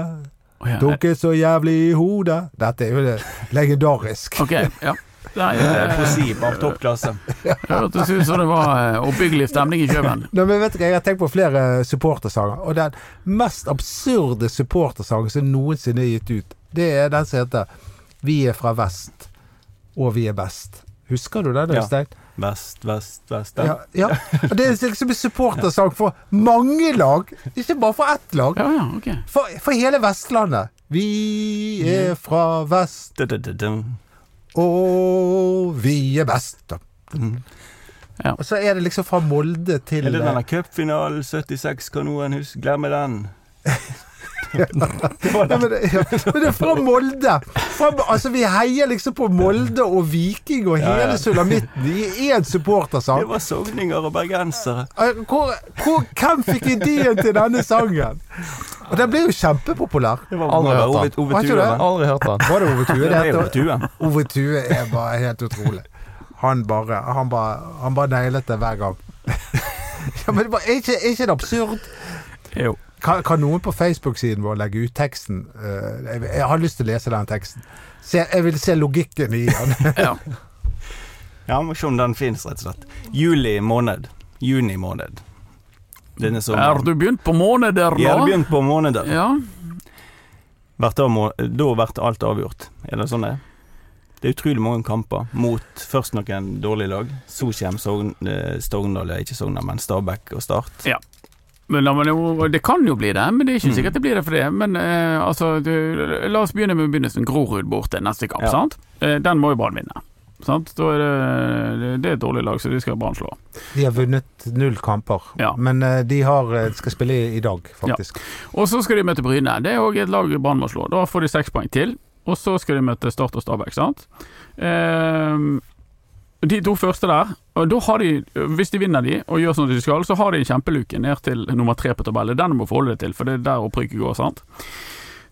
S4: Å ja, *laughs*
S3: dunket så jævlig i hodet. Dette er jo det legendarisk.
S4: Ok, ja. Nei,
S2: Eh,
S4: eh,
S2: Prosib av toppklasse.
S4: det hørtes ut som det var eh, oppbyggelig stemning i Kjøben.
S3: Nei, men vet du hva, Jeg har tenkt på flere supportersanger, og den mest absurde supportersangen som noensinne er gitt ut, det er den som heter 'Vi er fra vest, og vi er best'. Husker du den,
S2: Ja.
S3: Øystein?
S2: Vest, vest, vest.
S3: Ja. ja.
S2: *laughs*
S3: Og Det er liksom en supportersang for mange lag, ikke bare for ett lag.
S4: Ja, ja, ok.
S3: For, for hele Vestlandet. Vi er fra vest,
S2: Da, da, da, da.
S3: og vi er best.
S2: Mm.
S4: Ja.
S3: Og så er det liksom fra Molde til
S2: Er det denne cupfinalen 76 kanoen, husk, glemmer den. Det var
S3: Ja,
S2: den.
S3: men, det- ja, men det er fra Molde! Fra, altså, vi heier liksom på Molde og Viking og
S2: Ja, ja.
S3: hele sulamitten i én supportersang.
S2: Det var sogninger og bergensere.
S3: Eh, Hvor, hvor, hvem fikk ideen til denne sangen? Og den ble jo kjempepopulær.
S2: Det var
S5: Aldri
S2: Ove- Ove-
S5: hørt den.
S2: Ove
S3: Har ikke du
S2: Tue,
S3: det?
S2: vel?
S5: Aldri hørt den.
S3: Var det Ove Tue
S2: Det
S3: det
S2: er Ove
S3: het?
S2: Tue.
S3: Ove Tue er bare helt utrolig. Han bare Han bare, han bare nailet det hver gang. *laughs* Ja, men det var, er, ikke, er ikke det absurd?
S4: Jo.
S3: Kan, kan noen på Facebook-siden vår legge ut teksten? Eh, jeg, jeg har lyst til å lese den teksten. Se, jeg vil se logikken i den.
S4: *laughs* Ja.
S2: Ja, må se om den fins, rett og slett. Juli måned. Juni måned. Denne
S4: Er
S2: sommeren.
S4: du begynt på måneder
S2: Vi har
S4: nå?
S2: begynt på måneder.
S4: Ja.
S2: Hvert år må, da blir alt avgjort. Er det sånn det er? Det er utrolig mange kamper mot først noen dårlige lag. Så kommer Sogn, eh, Sogndal, ja, ikke Sogndal, men Stabæk og Start.
S4: Men, la meg jo- det kan jo bli det, men det er ikke sikkert det blir det for det. Men eh, altså, du, la oss begynne med begynnelsen. Grorud borte neste kamp,
S2: Ja.
S4: sant? Eh, den må jo Brann vinne. Sant? Da er det, det er et dårlig lag, så de skal Brann slå.
S3: *laughs* De har vunnet null kamper,
S4: Ja.
S3: men eh, de har, eh, skal spille i, i dag, faktisk.
S4: Og så skal de møte Bryne. Det er òg et lag Brann må slå. Da får de seks poeng til. Og så skal de møte Start og Stabæk, sant. Ehm, de to første der, og da har de, hvis de vinner de og gjør sånn som de skal, så har de en kjempeluke ned til nummer tre på tabellen. Den må forholde deg til, for det er der opprykket går, sant.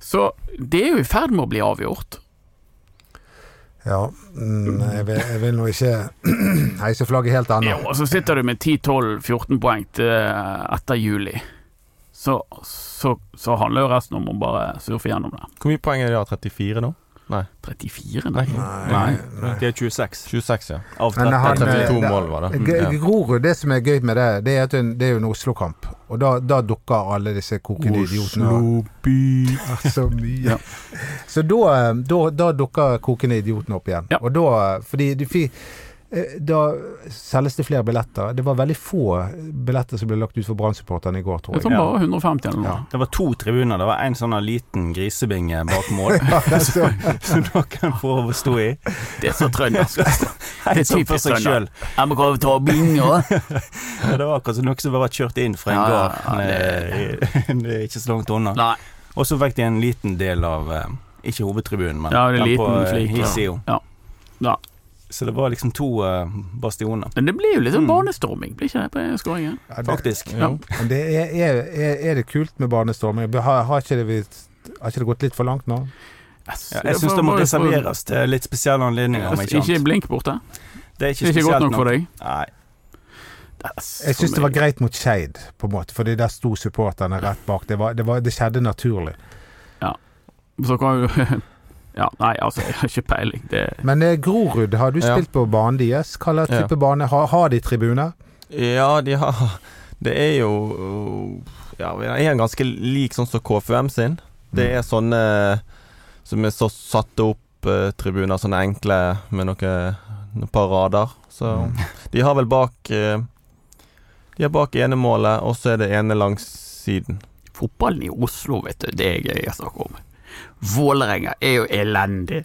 S4: Så det er jo i ferd med å bli avgjort.
S3: Ja, mm, jeg, vil, jeg vil nå ikke *clears throat* heise flagget helt ennå.
S4: Jo, og så sitter du med 10-12-14 poeng til eh, etter juli. Så, så, så handler jo resten om å bare surfe gjennom det.
S5: Hvor mye poeng er det? da? 34 nå?
S4: 34,
S5: Nei.
S4: nei. Nei.
S2: Det er 26
S5: 26, ja.
S2: av
S3: Men
S2: 30.
S3: han,
S5: Det er
S3: eh,
S5: 32
S3: det-
S5: mål, var det.
S3: G-
S5: Ja.
S3: Grorud, det som er gøy med det, det er at det er jo en Oslo-kamp. Og da, da dukker alle disse kokende idiotene opp. *laughs* Ah, Så mye.
S4: Ja.
S3: Så da, eh, da, da dukker kokende idiotene opp igjen.
S4: Ja.
S3: Og da eh, Fordi de fi- eh, da selges det flere billetter. Det var veldig få eh, billetter som ble lagt ut for Brann-supporterne i går, tror
S4: Jeg
S3: jeg.
S4: tror bare 150 eller noe.
S3: Ja.
S2: Det var to tribuner. Det var en sånn liten grisebinge bak mål
S3: så-
S2: *laughs* som noen får over å stå i.
S4: Det er så trøndersk. Det er
S2: Helt sånn for
S4: typisk
S2: seg
S4: trønder.
S2: selv.
S4: *laughs* Jeg må komme til Bingo.
S2: Ja, Det var akkurat som noe som var kjørt inn fra en
S4: Ja, ja,
S2: gard.
S4: ja,
S2: *laughs* eh, Det er ikke så langt unna.
S4: Nei.
S2: Og så fikk de en liten del av eh, Ikke hovedtribunen, men
S4: Ja, det er
S2: den på
S4: liten
S2: eh,
S4: flik, ja.
S2: Hisio.
S4: Ja. Ja.
S2: Så det var liksom to eh, bastioner,
S4: Men det blir jo litt
S2: Mm.
S4: sånn barnestorming, blir ikke det på skåringen?
S3: Ja, det-
S2: faktisk.
S4: Ja.
S3: Men det er, er, er, er det kult med barnestorming? Har, har, ikke det, vi- har ikke det gått litt for langt nå?
S4: Yes.
S2: Ja, jeg syns det må
S4: får-
S2: reserveres til litt spesielle anledninger. om
S4: Yes,
S2: ikke
S4: Ikke
S2: annet.
S4: blink borte.
S2: Det er
S4: Det er ikke
S2: spesielt
S4: godt nok for deg.
S2: Nei.
S4: Yes,
S3: Jeg syns
S4: for
S3: det var
S4: meg.
S3: greit mot Skeid, på en måte, fordi der sto supporterne rett bak. Det, var, det, var, det skjedde naturlig.
S4: Så kan jo *laughs* Ja, nei, altså, *laughs* jeg har ikke peiling. Det
S3: Men eh, Grorud, har du
S5: Ja.
S3: spilt på banen deres? Hva slags
S5: Ja.
S3: type bane har, har de tribuner?
S5: Ja, de har Det er jo Ja, den er en ganske lik sånn som KFUM sin. Det
S3: Mm.
S5: er sånne som er så satt opp eh, tribuner, sånne enkle med noe, noen par rader. Så
S3: Mm.
S5: *laughs* de har vel bak eh, De har bak ene målet, og så er det ene langs siden.
S4: Fotballen i Oslo, vet du, det er gøy å snakke om. Vålerenga er jo elendig.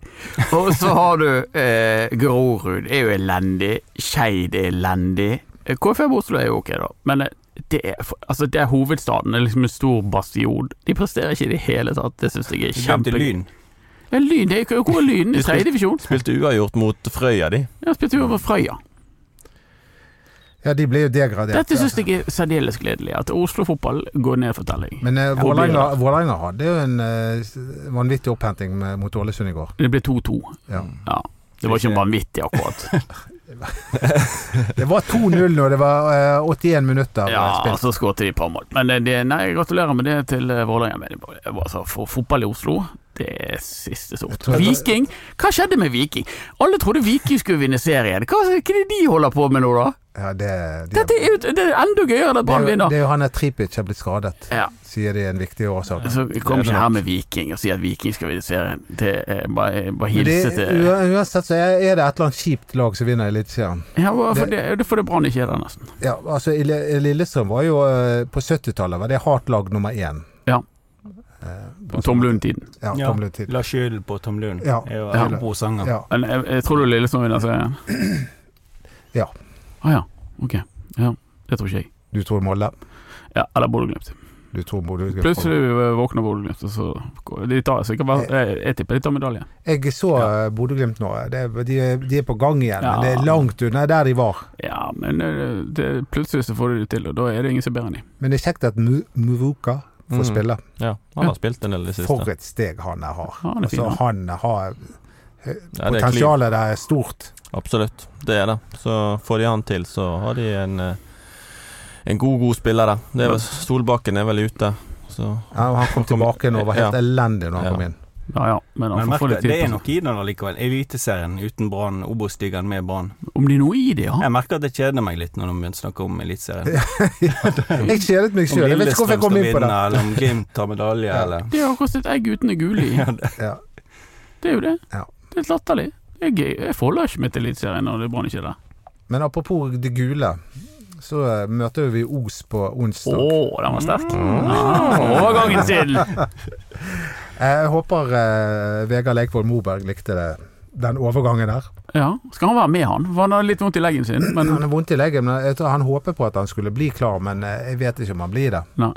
S4: Og så har du eh, Grorud er jo elendig. Skeid er elendig. Eh, KFM Oslo er jo ok, da. Men eh, det er, for- altså, det er hovedstaden. Det er liksom en stor bastion. De presterer ikke i det hele tatt. Det syns jeg er
S2: Vi glemte
S4: kjempegøy.
S2: Lyn.
S4: Ja, lyn, det er, hvor er Lyn i
S5: De spil-
S4: tredje divisjon?
S5: Spilte uavgjort mot Frøya, de.
S4: Ja, spilte jo over Frøya.
S3: Ja, de ble jo degradert.
S4: Dette syns jeg er særdeles gledelig. At Oslo-fotball går ned for telling.
S3: Men eh,
S4: Ja,
S3: Vålerenga
S4: Vålerenga.
S3: Vålerenga hadde jo en eh, s- vanvittig opphenting med, mot Ålesund i går.
S4: Det ble 2-2.
S3: Ja.
S4: Ja. Det var ikke vanvittig, akkurat.
S3: Det var 2-0 nå, det var eh, 81 minutter eh,
S4: Ja,
S3: spilt.
S4: så eh, skåret de et par mål. Men eh, det, nei, jeg gratulerer med det til eh, Vålerenga. Men det var- altså, for altså, fotball i Oslo, det det er siste sort.
S3: tror det-
S4: Viking? Hva skjedde med Viking? Alle trodde Viking skulle vinne serien. Hva, hva er det de holder på med nå, da?
S3: Ja, det, de,
S4: Dette er jo det er enda gøyere enn at
S3: det, er
S4: Brann
S3: jo-
S4: vinner.
S3: det er jo han der Tripic har blitt skadet,
S4: Ja.
S3: sier de er en viktig årsak.
S4: Så kom ikke her med Viking og si at Viking skal vinne serien. Det er bare, bare
S3: Men
S4: hilse
S3: det-
S4: til
S3: ua- Uansett så er er det et eller annet kjipt lag som vinner Eliteserien.
S4: Ja, for det, det får det Brann ikke er der, nesten.
S3: Ja, altså Lille- Lillestrøm var jo eh, på 70-tallet var det hardt lag nummer én.
S4: Ja.
S3: Eh,
S4: På Tom Lund-tiden.
S3: Ja,
S2: Ja.
S3: Tom Lundtid.
S2: La skylden på Tom Lund.
S3: Ja.
S2: Er jo
S4: Ja.
S2: en god sanger.
S3: Ja.
S4: Men jeg, jeg tror du Lillestrøm vinner serien?
S3: Ja.
S4: Å ah, ja. Ok. Ja, det tror ikke jeg.
S3: Du tror Molde.
S4: Ja, eller Bodø-Glimt.
S3: Du tror Bodø.
S4: Plutselig våkner Bodø-Glimt, og så går- de tar sikkert bare eh, Jeg, jeg tipper de tar medalje.
S3: Jeg så eh, Bodø-Glimt nå. Det, er- de, er- de er på gang igjen,
S4: Ja.
S3: men det er langt unna der de var.
S4: Ja, men eh, det, plutselig så får de det til, og da er det ingen som er bedre enn de.
S3: Men det er kjekt at Mu- Muvuka får
S5: Mm.
S3: spille.
S5: Ja, han har spilt en del i det
S3: For
S5: siste.
S3: et steg han her har.
S4: Han er fin,
S3: altså,
S4: han.
S3: han har
S5: Ja, det er clean.
S3: Potensialet der er stort.
S5: Absolutt, det er det. Så får de han til, så har de en, eh, en god, god spiller der. Det er vel, Solbakken er vel ute, så
S3: Ja, og han kom tilbake nå og var helt
S5: Ja.
S3: elendig når han
S5: Ja.
S3: kom inn.
S4: Ja ja, men han
S2: Men
S4: får
S2: merk
S4: få det
S2: det,
S4: til.
S2: det er
S4: på-
S2: noe i den allikevel. Eliteserien uten Brann, Obos-ligaen med Brann.
S4: Om det er noe i det, ja.
S2: Jeg merker at det kjeder meg litt når de begynner å snakke om Eliteserien.
S3: Jeg kjedet meg
S2: Om
S3: sjøl, jeg vet ikke hvorfor jeg kom inn på det.
S2: eller om Glimt tar medalje,
S3: *laughs* Ja.
S2: eller
S4: Det er akkurat et egg uten det gule i.
S3: Ja.
S4: Det er jo det.
S3: Ja.
S4: Det er latterlig. Det er gøy. Jeg forholder ikke meg til Eliteserien når det er Brann ikke er der.
S3: Men apropos det gule, så eh, møter vi Os på
S4: Å,
S3: onsdag.
S4: den var sterk. Ah, overgangen til
S3: Jeg håper eh, Vegard Leikvoll Moberg likte det, den overgangen der.
S4: Ja, skal han være med, han? For han har litt vondt i leggen sin, men
S3: Han er vondt i leggen, men jeg tror han håper på at han skulle bli klar, men eh, jeg vet ikke om han blir det.
S4: Nei.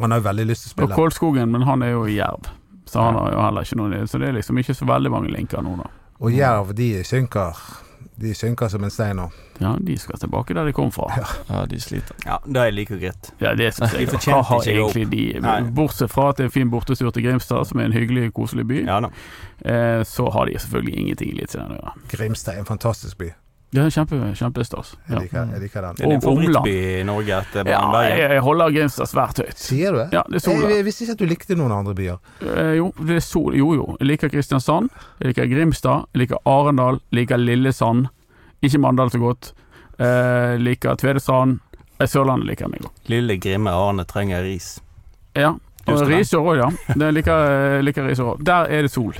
S3: Han har jo veldig lyst til å
S4: Og
S3: spille.
S4: Kolskogen, men han er jo i Jerv. Så han har jo heller ikke noe Så det er liksom ikke så veldig mange linker nå, da.
S3: Og Jerv, de synker. De synker som en stein nå.
S4: Ja, de skal tilbake der de kom fra.
S5: ja, de sliter.
S2: Ja, da er det like
S3: Mm.
S2: greit.
S4: Ja, det synes jeg.
S2: De fortjente
S4: Hva har
S2: ikke å gå opp.
S4: egentlig de
S2: Nei.
S4: Bortsett fra at det er en fin bortestur til Grimstad, som er en hyggelig, koselig by,
S2: Ja da.
S4: eh, så har de selvfølgelig ingenting i Eliteserien å gjøre.
S3: Grimstad er en fantastisk by.
S4: Det er kjempe, kjempestas. Ja.
S3: Jeg liker, jeg liker den.
S2: Det er din
S4: Og Omland.
S2: favorittby i Norge etter
S4: Ja,
S2: Brann Bergen.
S4: jeg jeg holder Grimstad svært høyt.
S3: Sier du det?
S4: Ja, det er
S3: Jeg,
S4: Sola.
S3: jeg visste ikke at du likte noen andre byer.
S4: Eh, jo, det er sol. Jo, jo. Jeg liker Kristiansand, jeg liker Grimstad, jeg liker Arendal, jeg liker Lillesand. Ikke Mandal så godt. Eh, liker Tvedestrand. Eh, Sørlandet liker jeg meg godt.
S2: Lille grimme Arne trenger ris.
S4: Ja. Og
S2: Just det.
S4: Risør òg, ja. Det liker, eh, liker Risør òg. Der er det sol.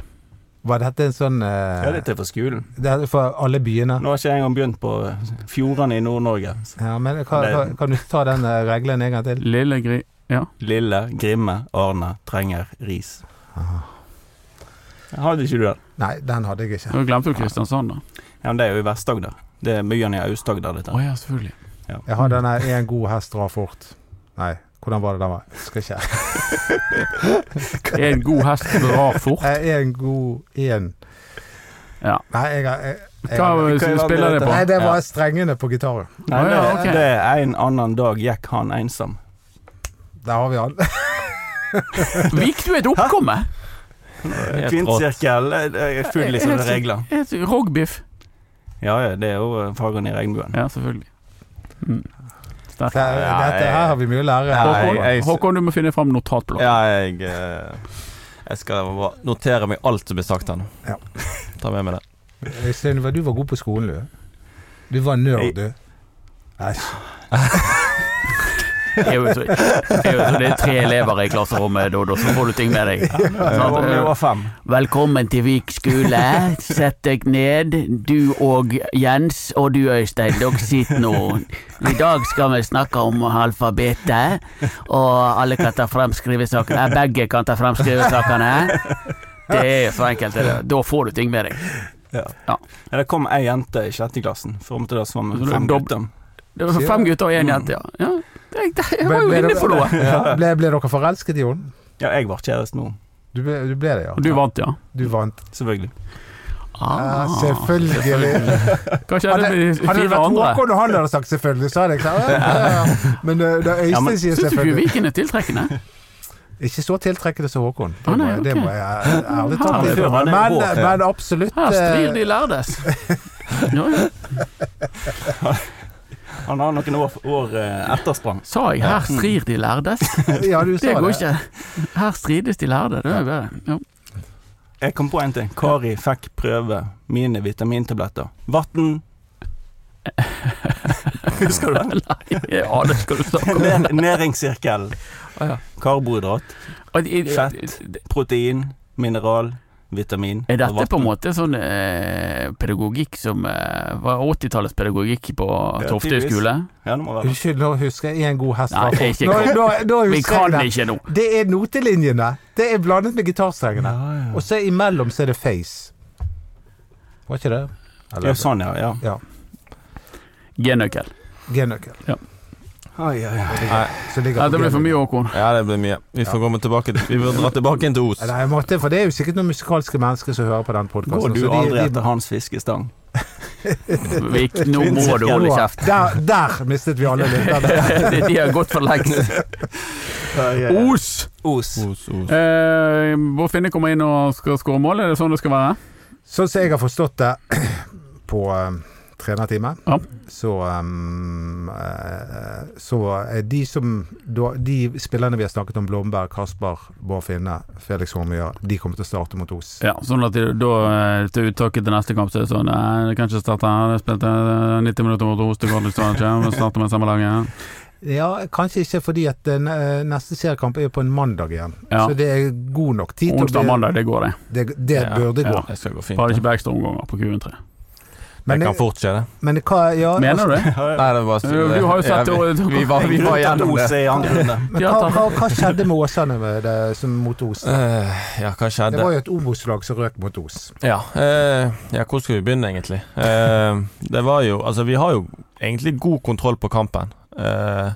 S3: Var dette en sånn
S2: Ja,
S3: eh,
S2: det er for skolen.
S3: det er For alle byene?
S2: Nå har ikke jeg engang begynt på fjordene i Nord-Norge.
S3: Ja, men kan, kan, kan du ta den eh, regelen en gang til?
S4: Lille Gri... Ja.
S2: Lille grimme Arne trenger ris.
S3: Ah.
S2: Hadde ikke du den?
S3: Nei, den hadde jeg ikke.
S4: Nå glemte du Kristiansand, da.
S2: Ja, men det er jo i Vest-Agder. Det er byene i Aust-Agder,
S4: Å
S2: dette.
S4: ja, selvfølgelig.
S3: Jeg har den her 'én god hest drar fort'. Nei, hvordan var det den var? Skal ikke
S4: En god hest drar fort.
S3: Én Eh, god én
S4: Ja.
S3: Nei, jeg, har- jeg, jeg,
S4: Hva
S3: har-
S2: Hva er det
S4: spiller det på?
S3: Nei, det var
S2: Ja.
S3: strengene på gitaren.
S2: Nei,
S4: Å,
S2: det,
S4: ja, ok.
S2: det er en annen dag gikk han ensom.
S3: Der har vi han.
S4: Vik du et oppkomme?
S2: Kvinnsirkel eh, det er full i sånne
S4: Helt-
S2: regler.
S4: helt- Rogbiff.
S2: Ja, ja, det er jo eh, fargen i regnbuen.
S4: Ja, selvfølgelig. Mm. Sterk.
S3: Der, dette her har vi mye å lære.
S5: Nei,
S4: Håkon,
S5: jeg-
S4: Håkon, du må finne fram notatbladet.
S5: Ja, jeg, eh, jeg skal bare notere meg alt som blir sagt her nå.
S3: Ja.
S5: *laughs* Ta med meg det.
S3: Øystein, hva- Eh, du var god på skolen, du. Du var nerd, du. Æsj.
S4: Det er jo så, det er jo så det er tre elever i klasserommet, Dodo, så får du ting med deg. Eh,
S2: Nå var vi over fem.
S4: Velkommen til Vik skole. Sett deg ned, du og Jens og du Øystein. Dere sitter nå. I dag skal vi snakke om alfabetet, og alle kan ta frem skrivesakene. Eh, Begge kan ta frem skrivesakene. Det er så enkelt. det er. Da får du ting med deg.
S2: Ja, det kom ei jente i sjette klassen. Fram til det så var vi
S4: Så det er
S2: fem
S4: dobb-
S2: gutter.
S4: Det var fem gutter og én jente, ja.
S3: Mm.
S4: ja. Jeg, *laughs* jeg var
S3: Ble-
S4: jo
S3: ble
S4: inne
S3: dere-
S4: på noe.
S3: Ja. Ble, ble dere forelsket i henne?
S2: Ja, jeg var kjæreste nå,
S3: Du ble, du ble det, ja.
S4: Og du Ah. vant, ja.
S3: Du vant.
S2: selvfølgelig.
S3: Ja, selvfølgelig.
S4: Hva skjedde
S3: Hadde,
S4: med de
S3: hadde det
S4: fire
S3: vært
S4: andre?
S3: Håkon og han hadde sagt selvfølgelig, så hadde jeg sagt ja, ja, ja. Men eh, da
S2: Ja, men
S3: Øystein sier
S4: Syns du ikke
S3: selvfølgelig
S4: Viken er tiltrekkende?
S3: Ikke så tiltrekkende som Håkon.
S4: Ah,
S3: Det må,
S4: nei, ok.
S3: det må jeg ærlig talt
S4: Herlig.
S3: innrømme.
S2: Han er
S3: Men, eh,
S2: vår.
S3: men absolutt
S4: Her strir
S3: eh,
S4: de lærdes. Ja, ja.
S2: Han har noen år, år eh, ettersprang.
S4: Sa jeg 'her strir de lærdes'?
S3: *laughs* Ja, du sa
S4: Det går
S3: det.
S4: ikke. Her strides de lærde. Det er jo bedre. Ja.
S2: Jeg kom på en ting. Kari fikk prøve mine vitamintabletter.
S4: *laughs*
S2: Vann Husker du den?
S4: Jeg aner ikke hva du snakker
S2: *laughs*
S4: om.
S2: Nær- Næringssirkel.
S4: Ah, ja.
S2: Karbohydrat,
S4: Og i- i-
S2: Fett. protein, mineral, vitamin
S4: Er dette
S2: og
S4: på en
S2: vann.
S4: måte sånn eh, pedagogikk som eh, var 80-tallets pedagogikk på
S2: Ja,
S4: Toftøy
S2: tydeligvis.
S4: skole?
S2: Ja, det må være det.
S3: Unnskyld, nå husker jeg én god hest
S4: Nei,
S3: fra
S4: det er ikke
S3: Nå, nå, nå
S4: Vi
S3: husker
S4: kan
S3: jeg det.
S4: ikke nå.
S3: Det er notelinjene. Det er blandet med gitarstrengene.
S2: ja.
S3: Og så imellom så er det face. Var ikke det?
S2: Ja, sånn, ja. ja.
S4: G-nøkkel.
S3: G-nøkkel.
S2: Oi, oi, oi.
S3: som ligger
S4: Ja,
S3: på
S4: det blir
S3: G-nøkkel.
S4: for mye, Håkon.
S5: Ja, det blir mye. Vi får komme tilbake til Vi får dra tilbake inn til Os.
S3: Ja, Nei, jeg måtte, for det er jo sikkert noen musikalske mennesker som hører på den podkasten.
S2: Går du aldri etter hans fiskestang?
S4: Vik, nå må du holde
S3: *laughs*
S4: kjeft.
S3: Der, der mistet vi alle lytterne.
S4: *laughs* De de har gått for lengst. Os!
S2: Os.
S5: Os, Os.
S4: Eh, Hvor Finne kommer inn og skal skåre mål, er det sånn det skal være?
S3: Sånn som jeg har forstått det *clears throat* på um, trenertime,
S4: Ja.
S3: så um, eh, Så er de som da, De spillerne vi har snakket om, Blomberg, Kasper, Bård Finne, Felix Hormøya, de kommer til å starte mot Os.
S4: Ja, sånn at de- da eh, til uttaket til neste kamp så er det sånn Nei, det kan ikke starte her. Jeg spilte eh, 90 minutter mot Os, det går liksom ikke. Vi starter med samme
S5: *laughs*
S4: laget.
S3: Ja, kanskje ikke fordi at eh, neste seriekamp er på en mandag igjen.
S4: Ja.
S3: Så det er god nok tid
S4: Onsdag
S3: bli-
S4: og mandag, det går, det.
S3: Det, det
S5: Ja,
S3: burde gå.
S4: ja.
S5: Det skal gå fint.
S4: Bare
S5: Det
S4: ikke på ekstraomganger på Q3.
S5: Det
S3: Men, eh,
S5: kan fort skje, det.
S3: men hva ja,
S4: Mener du det?
S5: Nei, det er bare å si
S4: Du
S5: det.
S4: har jo sett
S5: Ja, vi-
S4: det-
S5: Vi var, vi var gjennom det.
S2: Os er i andre runde.
S3: altså, Men
S4: Ja,
S3: hva,
S4: takk.
S3: hva, hva skjedde med Åsane med det, som mot Os?
S5: Eh, ja, hva
S3: Det
S5: skjedde?
S3: var jo et Obos-lag som røk mot Os.
S5: Ja, eh, ja, hvor skal vi begynne egentlig? Eh, det var jo Altså, vi har jo egentlig god kontroll på kampen. Eh,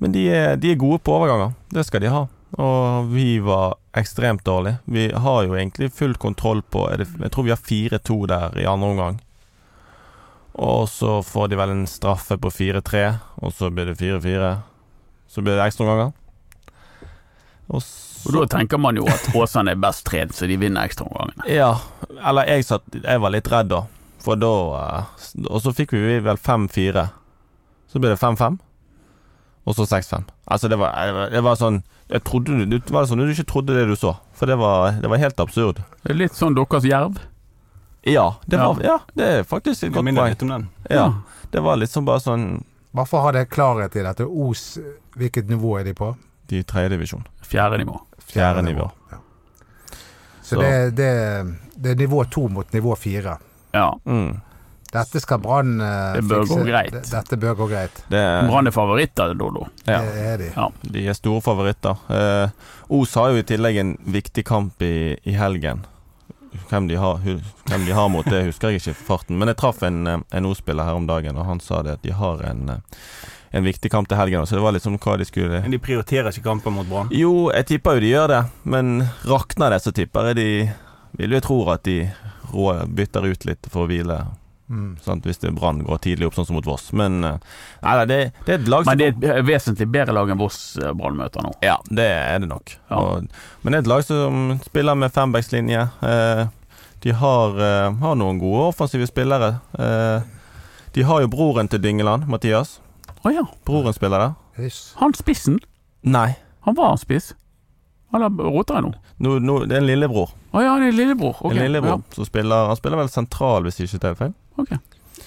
S5: men de er, de er gode på overganger. Det skal de ha. Og vi var ekstremt dårlige. Vi har jo egentlig full kontroll på er det, Jeg tror vi har 4-2 der i andre omgang. Og så får de vel en straffe på 4-3, og så blir det 4-4. Så blir det ekstraomganger. Og så
S4: Og Da tenker man jo at Åsane er best trent, så de vinner ekstraomgangene.
S5: Ja, eller jeg, satt, jeg var litt redd da. For da eh, s- Og så fikk vi vel 5-4. Så ble det 5-5. Og så 6-5. Altså, det var, det var- det var sånn Jeg trodde du, det var sånn, du ikke trodde det du så. For det var, det var helt absurd.
S4: Det er litt sånn deres jerv.
S5: Ja, det,
S4: Ja.
S5: Var, ja, det er faktisk et
S2: Jeg
S5: godt
S2: minner
S5: poeng.
S2: litt om den.
S5: Ja, det var liksom bare sånn
S3: Bare for å ha det klarhet i dette. Os, hvilket nivå er de på?
S5: De i tredje divisjon.
S4: Fjerde nivå.
S5: Fjerde nivå.
S3: Ja.
S5: Så.
S3: Så det, det, det er nivå to mot nivå fire.
S4: Ja.
S5: Mm.
S3: Dette skal Brann eh,
S4: Det bør
S3: fikse.
S4: gå greit.
S3: D- Dette bør gå greit.
S5: Det er
S4: Brann er favoritter, Dodo.
S5: Ja.
S3: Det er de.
S5: De er store favoritter. Eh, Os har jo i tillegg en viktig kamp i, i helgen. Hvem de, har, hu- hvem de har mot det, husker jeg ikke i farten. Men jeg traff en, eh, en Os-spiller her om dagen, og han sa det at de har en, eh, en viktig kamp til helgen. Så det var liksom hva de skulle
S2: Men de prioriterer ikke kampen mot Brann.
S5: Jo, jeg tipper jo de gjør det, men rakner det, så tipper jeg de Vil jo tro at de rå bytter ut litt for å hvile.
S3: Mm.
S5: Sant? Hvis det Brann går tidlig opp, sånn som mot Voss. Men eh, nei, nei, det, det er et lag som
S4: Men det er et vesentlig bedre lag enn Voss eh, Brann møter nå.
S5: Ja, det er det nok.
S4: Ja.
S5: Og, men det er et lag som spiller med fembackslinje. Eh, de har, eh, har noen gode offensive spillere. Eh, de har jo broren til Dyngeland, Mathias.
S4: Å ja.
S5: Broren spiller der.
S3: Yes.
S4: Han spissen.
S5: Nei,
S4: Han var spiss. Eller roter jeg nå?
S5: nå- nå- det er en lillebror.
S4: Å ja, han er lillebror. Ok.
S5: En lillebror som spiller, Han spiller vel sentral, hvis jeg ikke tar feil.
S4: Ja, ok.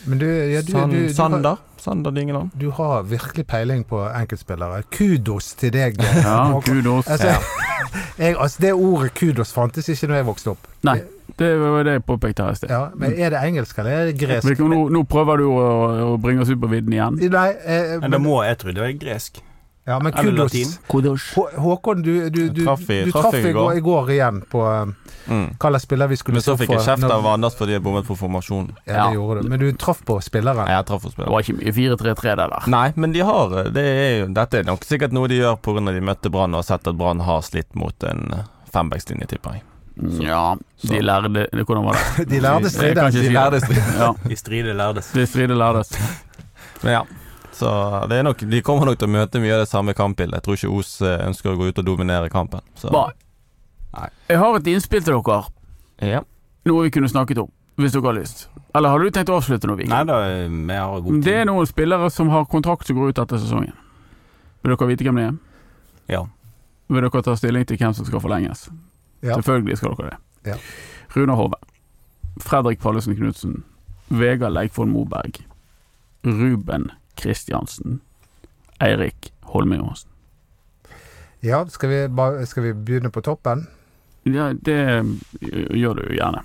S3: Men du, ja, du,
S5: San-
S3: du, du, har,
S5: Sander. Sander Dyngeland.
S3: du har virkelig peiling på enkeltspillere. Kudos til deg.
S4: ja
S3: Håkon.
S4: kudos.
S3: Altså, *laughs* jeg, altså, det ordet kudos fantes ikke når jeg vokste opp.
S4: Nei, det var det jeg påpekte her i sted.
S3: Ja, men er det engelsk eller er det gresk?
S4: Mikkel, Nå, nå prøver du å, å bringe oss ut på vidden igjen.
S3: Nei, eh,
S2: Men da
S3: men,
S2: må jeg tro det er gresk.
S3: ja, men
S2: eller
S3: kudos.
S2: latin.
S4: Kudos.
S3: Hå- Håkon, du, du, du,
S5: Traff i-
S3: du
S5: traff
S3: traff
S5: i
S3: i går,
S5: går.
S3: i går igjen på eh,
S5: Mm.
S3: hva slags spiller vi skulle
S5: Men så
S3: stå
S5: fikk jeg
S3: for
S5: kjeft
S3: når-
S5: av Anders fordi jeg bommet på formasjonen.
S3: Ja,
S4: Ja.
S3: det gjorde du. Men du traff på
S5: Nei,
S3: spilleren.
S5: jeg traff hos
S4: Det
S5: spilleren.
S4: var ikke mye 4-3-3 der, der.
S5: *laughs* Nei, men de har eh, det er jo, Dette er nok sikkert noe de gjør pga. de møtte Brann og har sett at Brann har slitt mot en eh, fembackslinje, tipper jeg.
S4: Mm, Ja, de lærde Hvordan var det?
S3: De lærde
S4: Jeg kan
S3: strides.
S4: ikke si
S5: *laughs* De
S4: det.
S5: lærde strid.
S4: Ja,
S2: I stride lærdes.
S4: de strider
S5: *laughs*
S4: lærdes.
S5: Men ja. Så det er nok, de kommer nok til å møte mye av det samme kampbildet. Jeg tror ikke Os eh, ønsker å gå ut og dominere kampen. Så.
S4: Bra.
S5: Nei.
S4: Jeg har et innspill til dere.
S5: Ja.
S4: Noe vi kunne snakket om, hvis dere har lyst. Eller har du tenkt å avslutte noe, Vik?
S2: Nei da, vi har god tid.
S4: Det er noen spillere som har kontrakt som går ut etter sesongen. Vil dere vite hvem det er?
S2: Ja.
S4: Vil dere ta stilling til hvem som skal forlenges?
S3: Ja.
S4: Selvfølgelig skal dere det.
S3: Ja.
S4: Runar Hove. Fredrik Pallesen Knutsen. Vegard Leikvoll Moberg. Ruben Kristiansen. Eirik Holme Johansen.
S3: Ja, skal vi, bare- skal vi begynne på toppen?
S4: Ja, det eh, gjør du jo gjerne.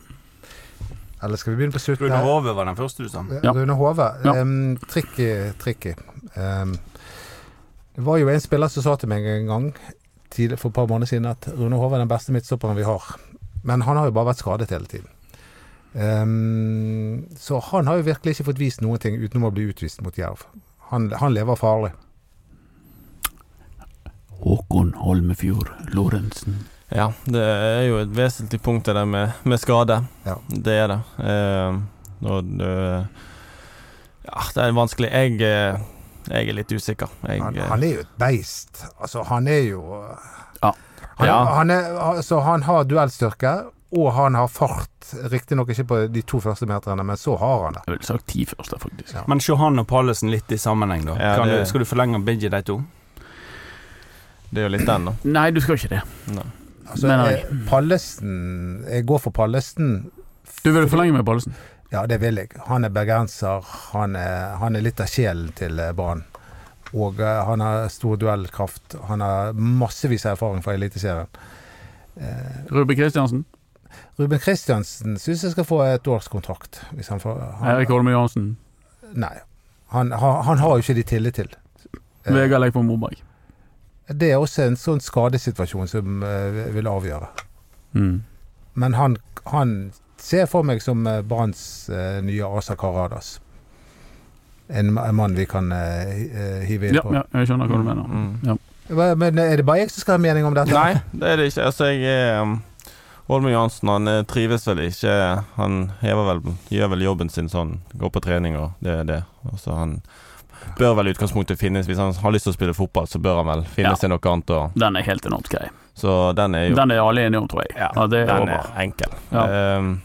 S3: Eller skal vi begynne på slutten?
S2: Rune
S3: her?
S2: Hove var den første du sa.
S4: Ja.
S3: Rune Hove.
S4: Ja.
S3: em, tricky, tricky. Em, det var jo en spiller som sa til meg en gang tidlig, for et par måneder siden at Rune Hove er den beste midtstopperen vi har. Men han har jo bare vært skadet hele tiden. Em, så han har jo virkelig ikke fått vist noen ting utenom å bli utvist mot Jerv. Han, han lever farlig.
S4: Håkon Holmefjord Lorentzen.
S5: Ja, det er jo et vesentlig punkt det der med, med skade.
S3: Ja.
S5: Det er det. Eh, og det Ja, det er vanskelig. Jeg, eh, jeg er litt usikker. Jeg,
S3: Han,
S5: eh,
S3: han er jo et beist. Altså, han er jo
S4: Ja.
S3: Han,
S5: Ja.
S3: han, er, altså, han har duellstyrke, og han har fart. Riktignok ikke på de to første meterne, men så har han det.
S4: Jeg ville sagt ti først, da, faktisk.
S3: Ja.
S2: Men se han og Pallesen litt i sammenheng, da.
S5: Ja,
S2: kan
S5: det-
S2: du, skal du forlenge begge de to?
S5: det er jo litt den, da.
S4: Nei, du skal ikke det.
S3: Altså,
S4: Mener
S3: jeg,
S4: jeg. Mm.
S3: Pallesen Jeg går for Pallesen.
S4: Du vil forlenge med Pallesen.
S3: Ja, det vil jeg. Han er bergenser. Han er, han er litt av sjelen til eh, Brann. Og eh, han har stor duellkraft. Han har massevis av erfaring fra Eliteserien.
S4: Ruben Kristiansen.
S3: Ruben Kristiansen syns jeg skal få et års kontrakt. Hvis han får han,
S4: Eirik Holme Johansen.
S3: Nei. Han, han, han har jo ikke de tillit til. Eh,
S4: Vegard Leikvoll Moberg.
S3: Det er også en sånn skadesituasjon som eh, vil avgjøre.
S4: Mm.
S3: Men han, han ser for meg som eh, Branns eh, nye Asa Karadas. En, ma- en mann vi kan eh, hi- eh, hive inn
S4: Ja,
S3: på.
S4: ja, jeg skjønner hva du mener.
S5: Mm.
S3: Hva- Men eh, er det bare jeg som skal ha mening om dette?
S5: Nei, det er det ikke. Altså, jeg er um, Holmen Johansen han eh, trives vel ikke Han hever vel, gjør vel jobben sin sånn, går på trening og det er det. Og så han bør vel i utgangspunktet finnes Hvis han har lyst til å spille fotball, så bør han vel finne
S4: Ja.
S5: seg noe annet. Og,
S4: Den er helt enormt grei.
S5: så den er jo
S4: Den er alle enige om, tror jeg.
S5: Ja,
S4: Ja, det er Eh,
S5: den
S4: over.
S5: er enkel.
S4: Ja.
S5: Ehm,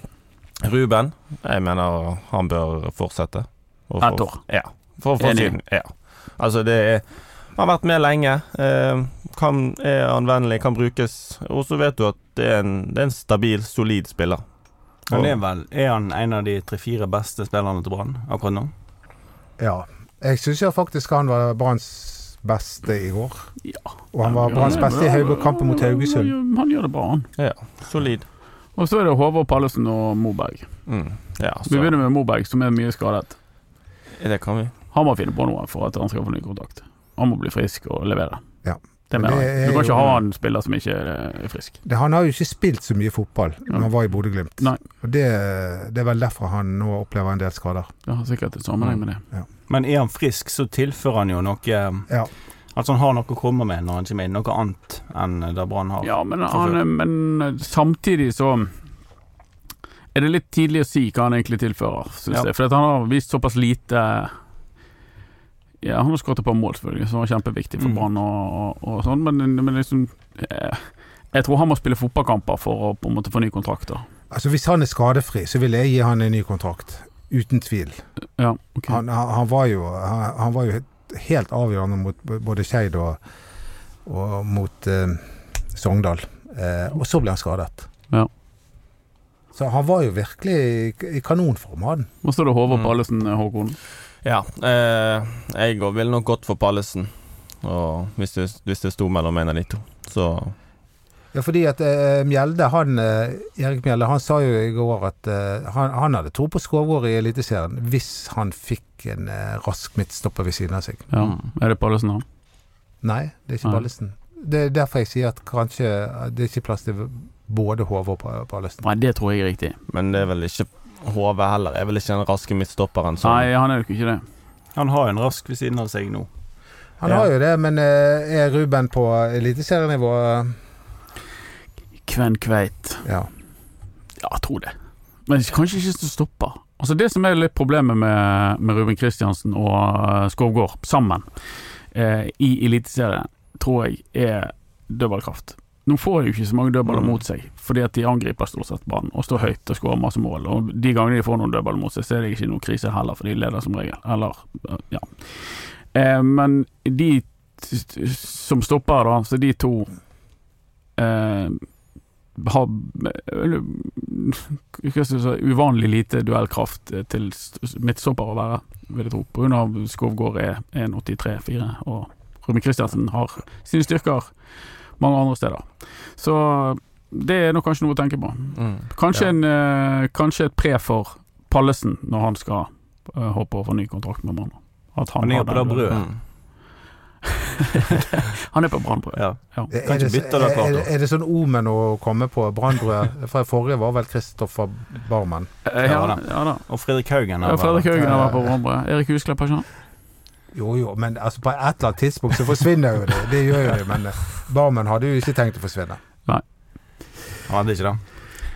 S5: Ruben, jeg mener han bør fortsette. Og
S4: Ett år.
S5: Ja. For å få
S4: Enig.
S5: sin Ja. Altså, det er Han har vært med lenge. ehm, kan, er anvendelig, kan brukes. Og så vet du at det er en, det er en stabil, solid spiller.
S2: Han er vel Er han en av de tre-fire beste spillerne til Brann akkurat nå?
S3: *laughs* Ja. Jeg syns faktisk han var Branns beste i går.
S4: Ja.
S3: Og han var
S4: Ja,
S3: Branns
S4: det-
S3: beste i Hauge- kampen mot Haugesund.
S4: Han gjør- Han gjør det bra, han.
S5: Ja, solid.
S4: Og så er det Håvard Pallesen og Moberg.
S5: Mm. Ja,
S4: Vi
S5: så
S4: begynner med Moberg, som er mye skadet.
S5: det kan vi.
S4: Han må finne på noe for at han skal få ny kontrakt. Han må bli frisk og levere.
S3: Ja.
S4: Det
S3: Men
S4: mener
S3: det
S4: jeg.
S3: er
S4: Du kan
S3: jo-
S4: ikke ha en spiller som ikke er frisk.
S3: Det, han har jo ikke spilt så mye fotball når han var i Bodø-Glimt.
S4: Nei.
S3: Og det, det er vel derfor han nå opplever en del skader.
S4: Det har sikkert en sammenheng med det.
S2: Men er han frisk, så tilfører han jo noe
S3: Ja.
S2: Altså han har noe å komme med når han kommer inn. Noe annet enn det Brann har.
S4: Ja, men,
S2: for
S4: han, men eh, samtidig så er det litt tidlig å si hva han egentlig tilfører, syns
S2: Ja.
S4: jeg. For at han har vist såpass lite Ja, han har skåret et par mål, selvfølgelig, som var kjempeviktig for
S2: Mm.
S4: Brann og, og, og sånn, men, men liksom eh, Jeg tror han må spille fotballkamper for å på en måte få ny kontrakt, da.
S3: Altså, hvis han er skadefri, så vil jeg gi han en ny kontrakt. Uten tvil.
S4: Ja, ok.
S3: Han, han, han var jo, han, han var jo helt- helt avgjørende mot b- både Skeid og, og mot eh, Sogndal. Eh, og så ble han skadet.
S4: Ja.
S3: Så han var jo virkelig i, i kanonform, han.
S4: Og så er det Håvard
S5: Mm.
S4: Pallesen, eh, Håkon.
S5: Ja. Eh, jeg òg ville nok gått for Pallesen. Og hvis det, hvis det sto mellom en av de to, så
S3: Ja, fordi at eh, Mjelde, han, eh, Erik Mjelde, han sa jo i går at eh, han, han hadde tro på Skovgård i Eliteserien hvis han fikk en eh, rask midtstopper ved siden av seg.
S4: Ja.
S5: Mm.
S4: Er det Pallesen, han?
S3: Nei, det er ikke
S4: Nei.
S3: Ballesen. Det er derfor jeg sier at kanskje eh, det er ikke plass til både Hove og Pa- Ballesen.
S4: Nei, det tror jeg er riktig.
S5: Men det er vel ikke HV heller. Er vel ikke den raske midtstopperen som
S4: Nei, han er nok ikke det.
S2: Han har en rask ved siden av seg nå.
S3: Han
S5: Ja.
S3: har jo det, men eh, er Ruben på eliteserienivå?
S4: Kven Kveit.
S3: Ja.
S4: Ja, jeg tror det. Men kanskje ikke som stopper. Altså Det som er litt problemet med, med Ruben Kristiansen og eh, Skovgård sammen eh, i Eliteserien, tror jeg er dødballkraft. Nå får de jo ikke så mange dødballer
S5: Mm.
S4: mot seg, fordi at de angriper stort sett banen og står høyt og skårer masse mål. Og De gangene de får noen dødballer mot seg, så er det ikke noen krise heller, for de leder som regel. Eller, eh, ja. Eh, men de t- t- som stopper, da, så de to eh, har eh, eller, hva skal jeg si, altså, uvanlig lite duellkraft eh, til s- midtstopper å være, vil jeg tro. Pga. Skovgård er 1,83-4, og Rune Kristiansen har sine styrker mange andre steder. Så det er nok kanskje noe å tenke på.
S5: Mm.
S4: Kanskje,
S5: Ja.
S4: en, eh, kanskje et pre for Pallesen når han skal eh, håpe å få ny kontrakt med Brann. At
S2: Han er
S4: har
S2: på
S4: den-
S2: det brødet.
S5: Mm.
S4: han er på Brannbrød.
S2: Ja. Kan
S3: Er
S2: ikke
S3: det,
S2: bytte det
S3: er,
S2: hvert
S3: er,
S2: år.
S3: er det sånn omen å komme på Brannbrød? For forrige var vel Kristoffer Barmen.
S4: Eh,
S2: Ja
S4: Ja,
S2: da.
S4: da. Ja, da.
S2: Og Fredrik Haugen.
S4: Ja,
S2: har vært-
S4: Fredrik Haugen har vært
S3: eh,
S4: på Brannbrød. Erik Husklepp, har ikke han?
S3: Jo jo, men altså på et eller annet tidspunkt så forsvinner jo det. Det gjør jo det, men eh, Barmen hadde jo ikke tenkt å forsvinne.
S2: Han hadde ikke det.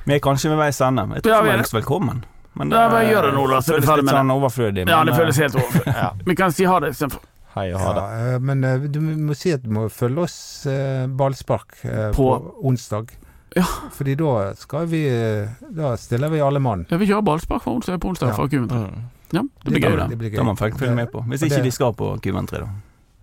S2: Vi er kanskje ved veis ende. Jeg tror
S4: Ja, vi
S2: vi
S4: er
S2: er velkommen. Men
S4: Ja, bare gjør det nå, da, så er
S2: føles
S4: vi ferdig
S2: litt
S4: med
S2: sånn overflødig.
S4: Ja,
S2: men,
S4: det
S2: eh,
S4: føles helt overfor.
S2: ja.
S4: Vi kan si ha det istedenfor.
S5: Hei og
S3: Ja,
S5: ha det.
S3: eh, men eh, du må si at du må følge oss eh, ballspark eh, på
S4: På-
S3: onsdag.
S4: Ja.
S3: Fordi da skal vi eh, Da stiller vi alle mann.
S4: Ja, vi kjører ballspark fra onsdag på onsdag
S3: Ja.
S4: fra Q3.
S5: Mm.
S4: Ja, det blir
S2: Det
S4: gøy,
S2: blir
S4: det.
S2: det.
S3: blir
S2: Da må folk følge med på. Hvis
S3: Og
S2: ikke
S3: det-
S2: de skal på Q3, da.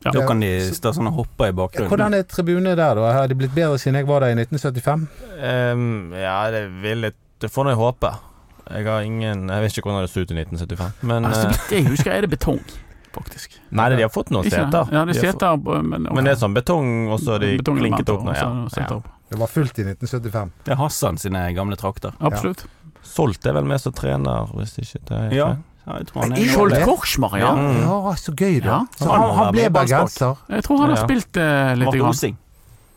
S4: Ja.
S2: Da kan de
S3: Så-
S2: stå sånn og hoppe i
S3: Ja,
S2: bakgrunnen.
S3: Hvordan er tribunene der, da? Har de blitt bedre siden jeg var der i 1975?
S5: Ehm, ja, det vil jeg Det får nå jeg håpe. Jeg har ingen Jeg vet ikke hvordan det så ut i 1975, men
S4: Altså, så
S5: eh,
S4: vidt jeg husker, er det betong, faktisk.
S5: Nei, de har fått noen
S4: Ikke det?
S5: seter.
S4: Ja, det
S5: De
S4: er
S5: har fått-
S4: seter, men,
S5: Men det er sånn betong, og så har de klinket opp nå. Ja.
S4: Ja.
S5: Ja.
S3: Det var fullt i 1975.
S2: Det er Hassan sine gamle trakter.
S4: Absolutt.
S5: Solgt er vel med som trener, hvis ikke det er
S2: Ja. Ja, jeg tror han er
S3: Ja.
S4: Skjold Korsmar, ja.
S5: Mm.
S3: Ja, så gøy, da.
S4: Ja.
S3: Så han, han ble bergenser.
S4: Jeg tror han har
S5: Ja.
S4: spilt eh, litt.
S2: Vart
S4: Grann.
S2: Osing.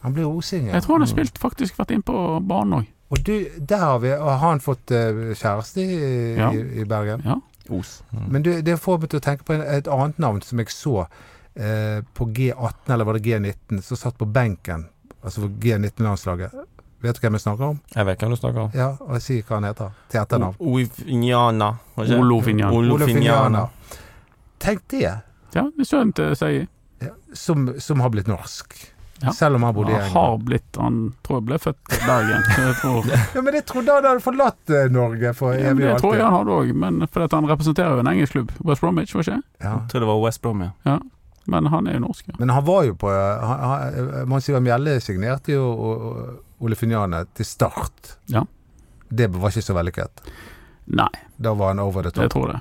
S3: Han ble osing. ja.
S4: Jeg tror han har spilt, faktisk vært inn på banen òg.
S3: Og du, der har vi Har han fått eh, kjæreste i,
S4: Ja.
S3: i, i Bergen?
S2: Os.
S3: Men du, det får meg til å tenke på en- et annet navn som jeg så eh, på G18, eller var det G19, som satt på benken. Altså for G19-landslaget. Vet du hvem jeg snakker om?
S5: Jeg vet hvem du snakker om.
S3: Ja, og si hva han heter. Til etternavn.
S5: Oifinjana.
S4: Olof Injan.
S5: Olofinjana.
S3: Finjana. Tenk det,
S4: Ja, det er skjønt å si.
S3: som, som har blitt norsk.
S4: Ja.
S3: Selv om han bodde i
S4: Han har
S3: England.
S4: blitt Han tror jeg ble født i Bergen. så Jeg tror,
S3: Ja, men jeg trodde han hadde forlatt eh, Norge for
S4: ja, men
S3: evig
S4: det
S3: og
S4: tror jeg
S3: alltid.
S4: han hadde òg, men for at han representerer jo en engelsk klubb, West Bromwich, var ikke det?
S3: Ja.
S2: Jeg tror det var West Brom, ja.
S4: Men han er jo norsk, ja.
S3: Men han var jo på eh, han- han- Mons Ivar Mjelle signerte jo og- og Olefiniane til start.
S4: Ja.
S3: Det var ikke så vellykket.
S4: Nei,
S3: Da var han over the top.
S4: jeg tror det.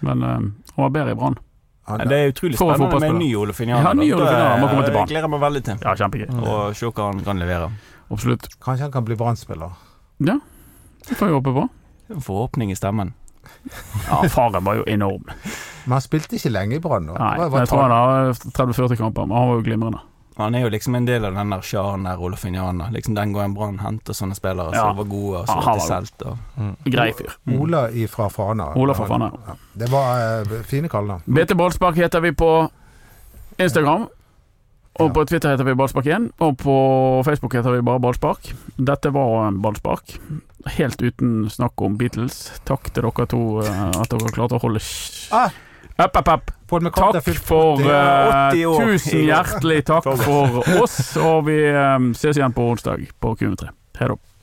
S4: Men eh, han var bedre i Brann.
S3: Han,
S2: Det er utrolig
S4: For å få
S2: spennende med en
S4: fotballspiller.
S2: ny Ole Finjan.
S4: Ja, ny Ole Finjan, han må komme tilbake.
S2: gleder meg veldig til.
S4: Ja, kjempegøy.
S2: Og se hva han kan levere.
S4: Absolutt.
S3: Kanskje han kan bli Brann-spiller.
S4: Det får vi håpe på.
S2: Forhåpning i stemmen.
S4: Ja, faren var jo enorm.
S3: Men han spilte ikke lenge i Brann. da.
S4: Nei,
S3: Hva- hva
S4: jeg tror
S3: tar-
S4: han har 30-40 kamper, men han var jo glimrende.
S2: Han er jo liksom en del av den der sjaen der, Ole Finjan. da. Liksom den gangen Brann henter sånne spillere
S4: Ja.
S2: som var gode, og
S4: Ja,
S2: som
S4: han
S2: var til
S4: var
S2: selt. Og...
S4: Grei fyr.
S2: Mm.
S3: Ola i fra Fana.
S4: Ola fra Fana.
S3: Ja. Det var eh, fine kallenavn.
S4: BT Ballspark heter vi på Instagram. Og på Twitter heter vi Ballspark1, og på Facebook heter vi bare Ballspark. Dette var en ballspark, helt uten snakk om Beatles. Takk til dere to eh, at dere klarte å holde sj-
S3: Ah!
S4: App, app, app.
S3: Paul McCartney
S4: Takk
S3: har fylt
S4: for
S3: 80.
S4: eh,
S2: 80 år.
S4: Tusen hjertelig takk for oss, og vi eh, ses igjen på onsdag på Q3. Ha det.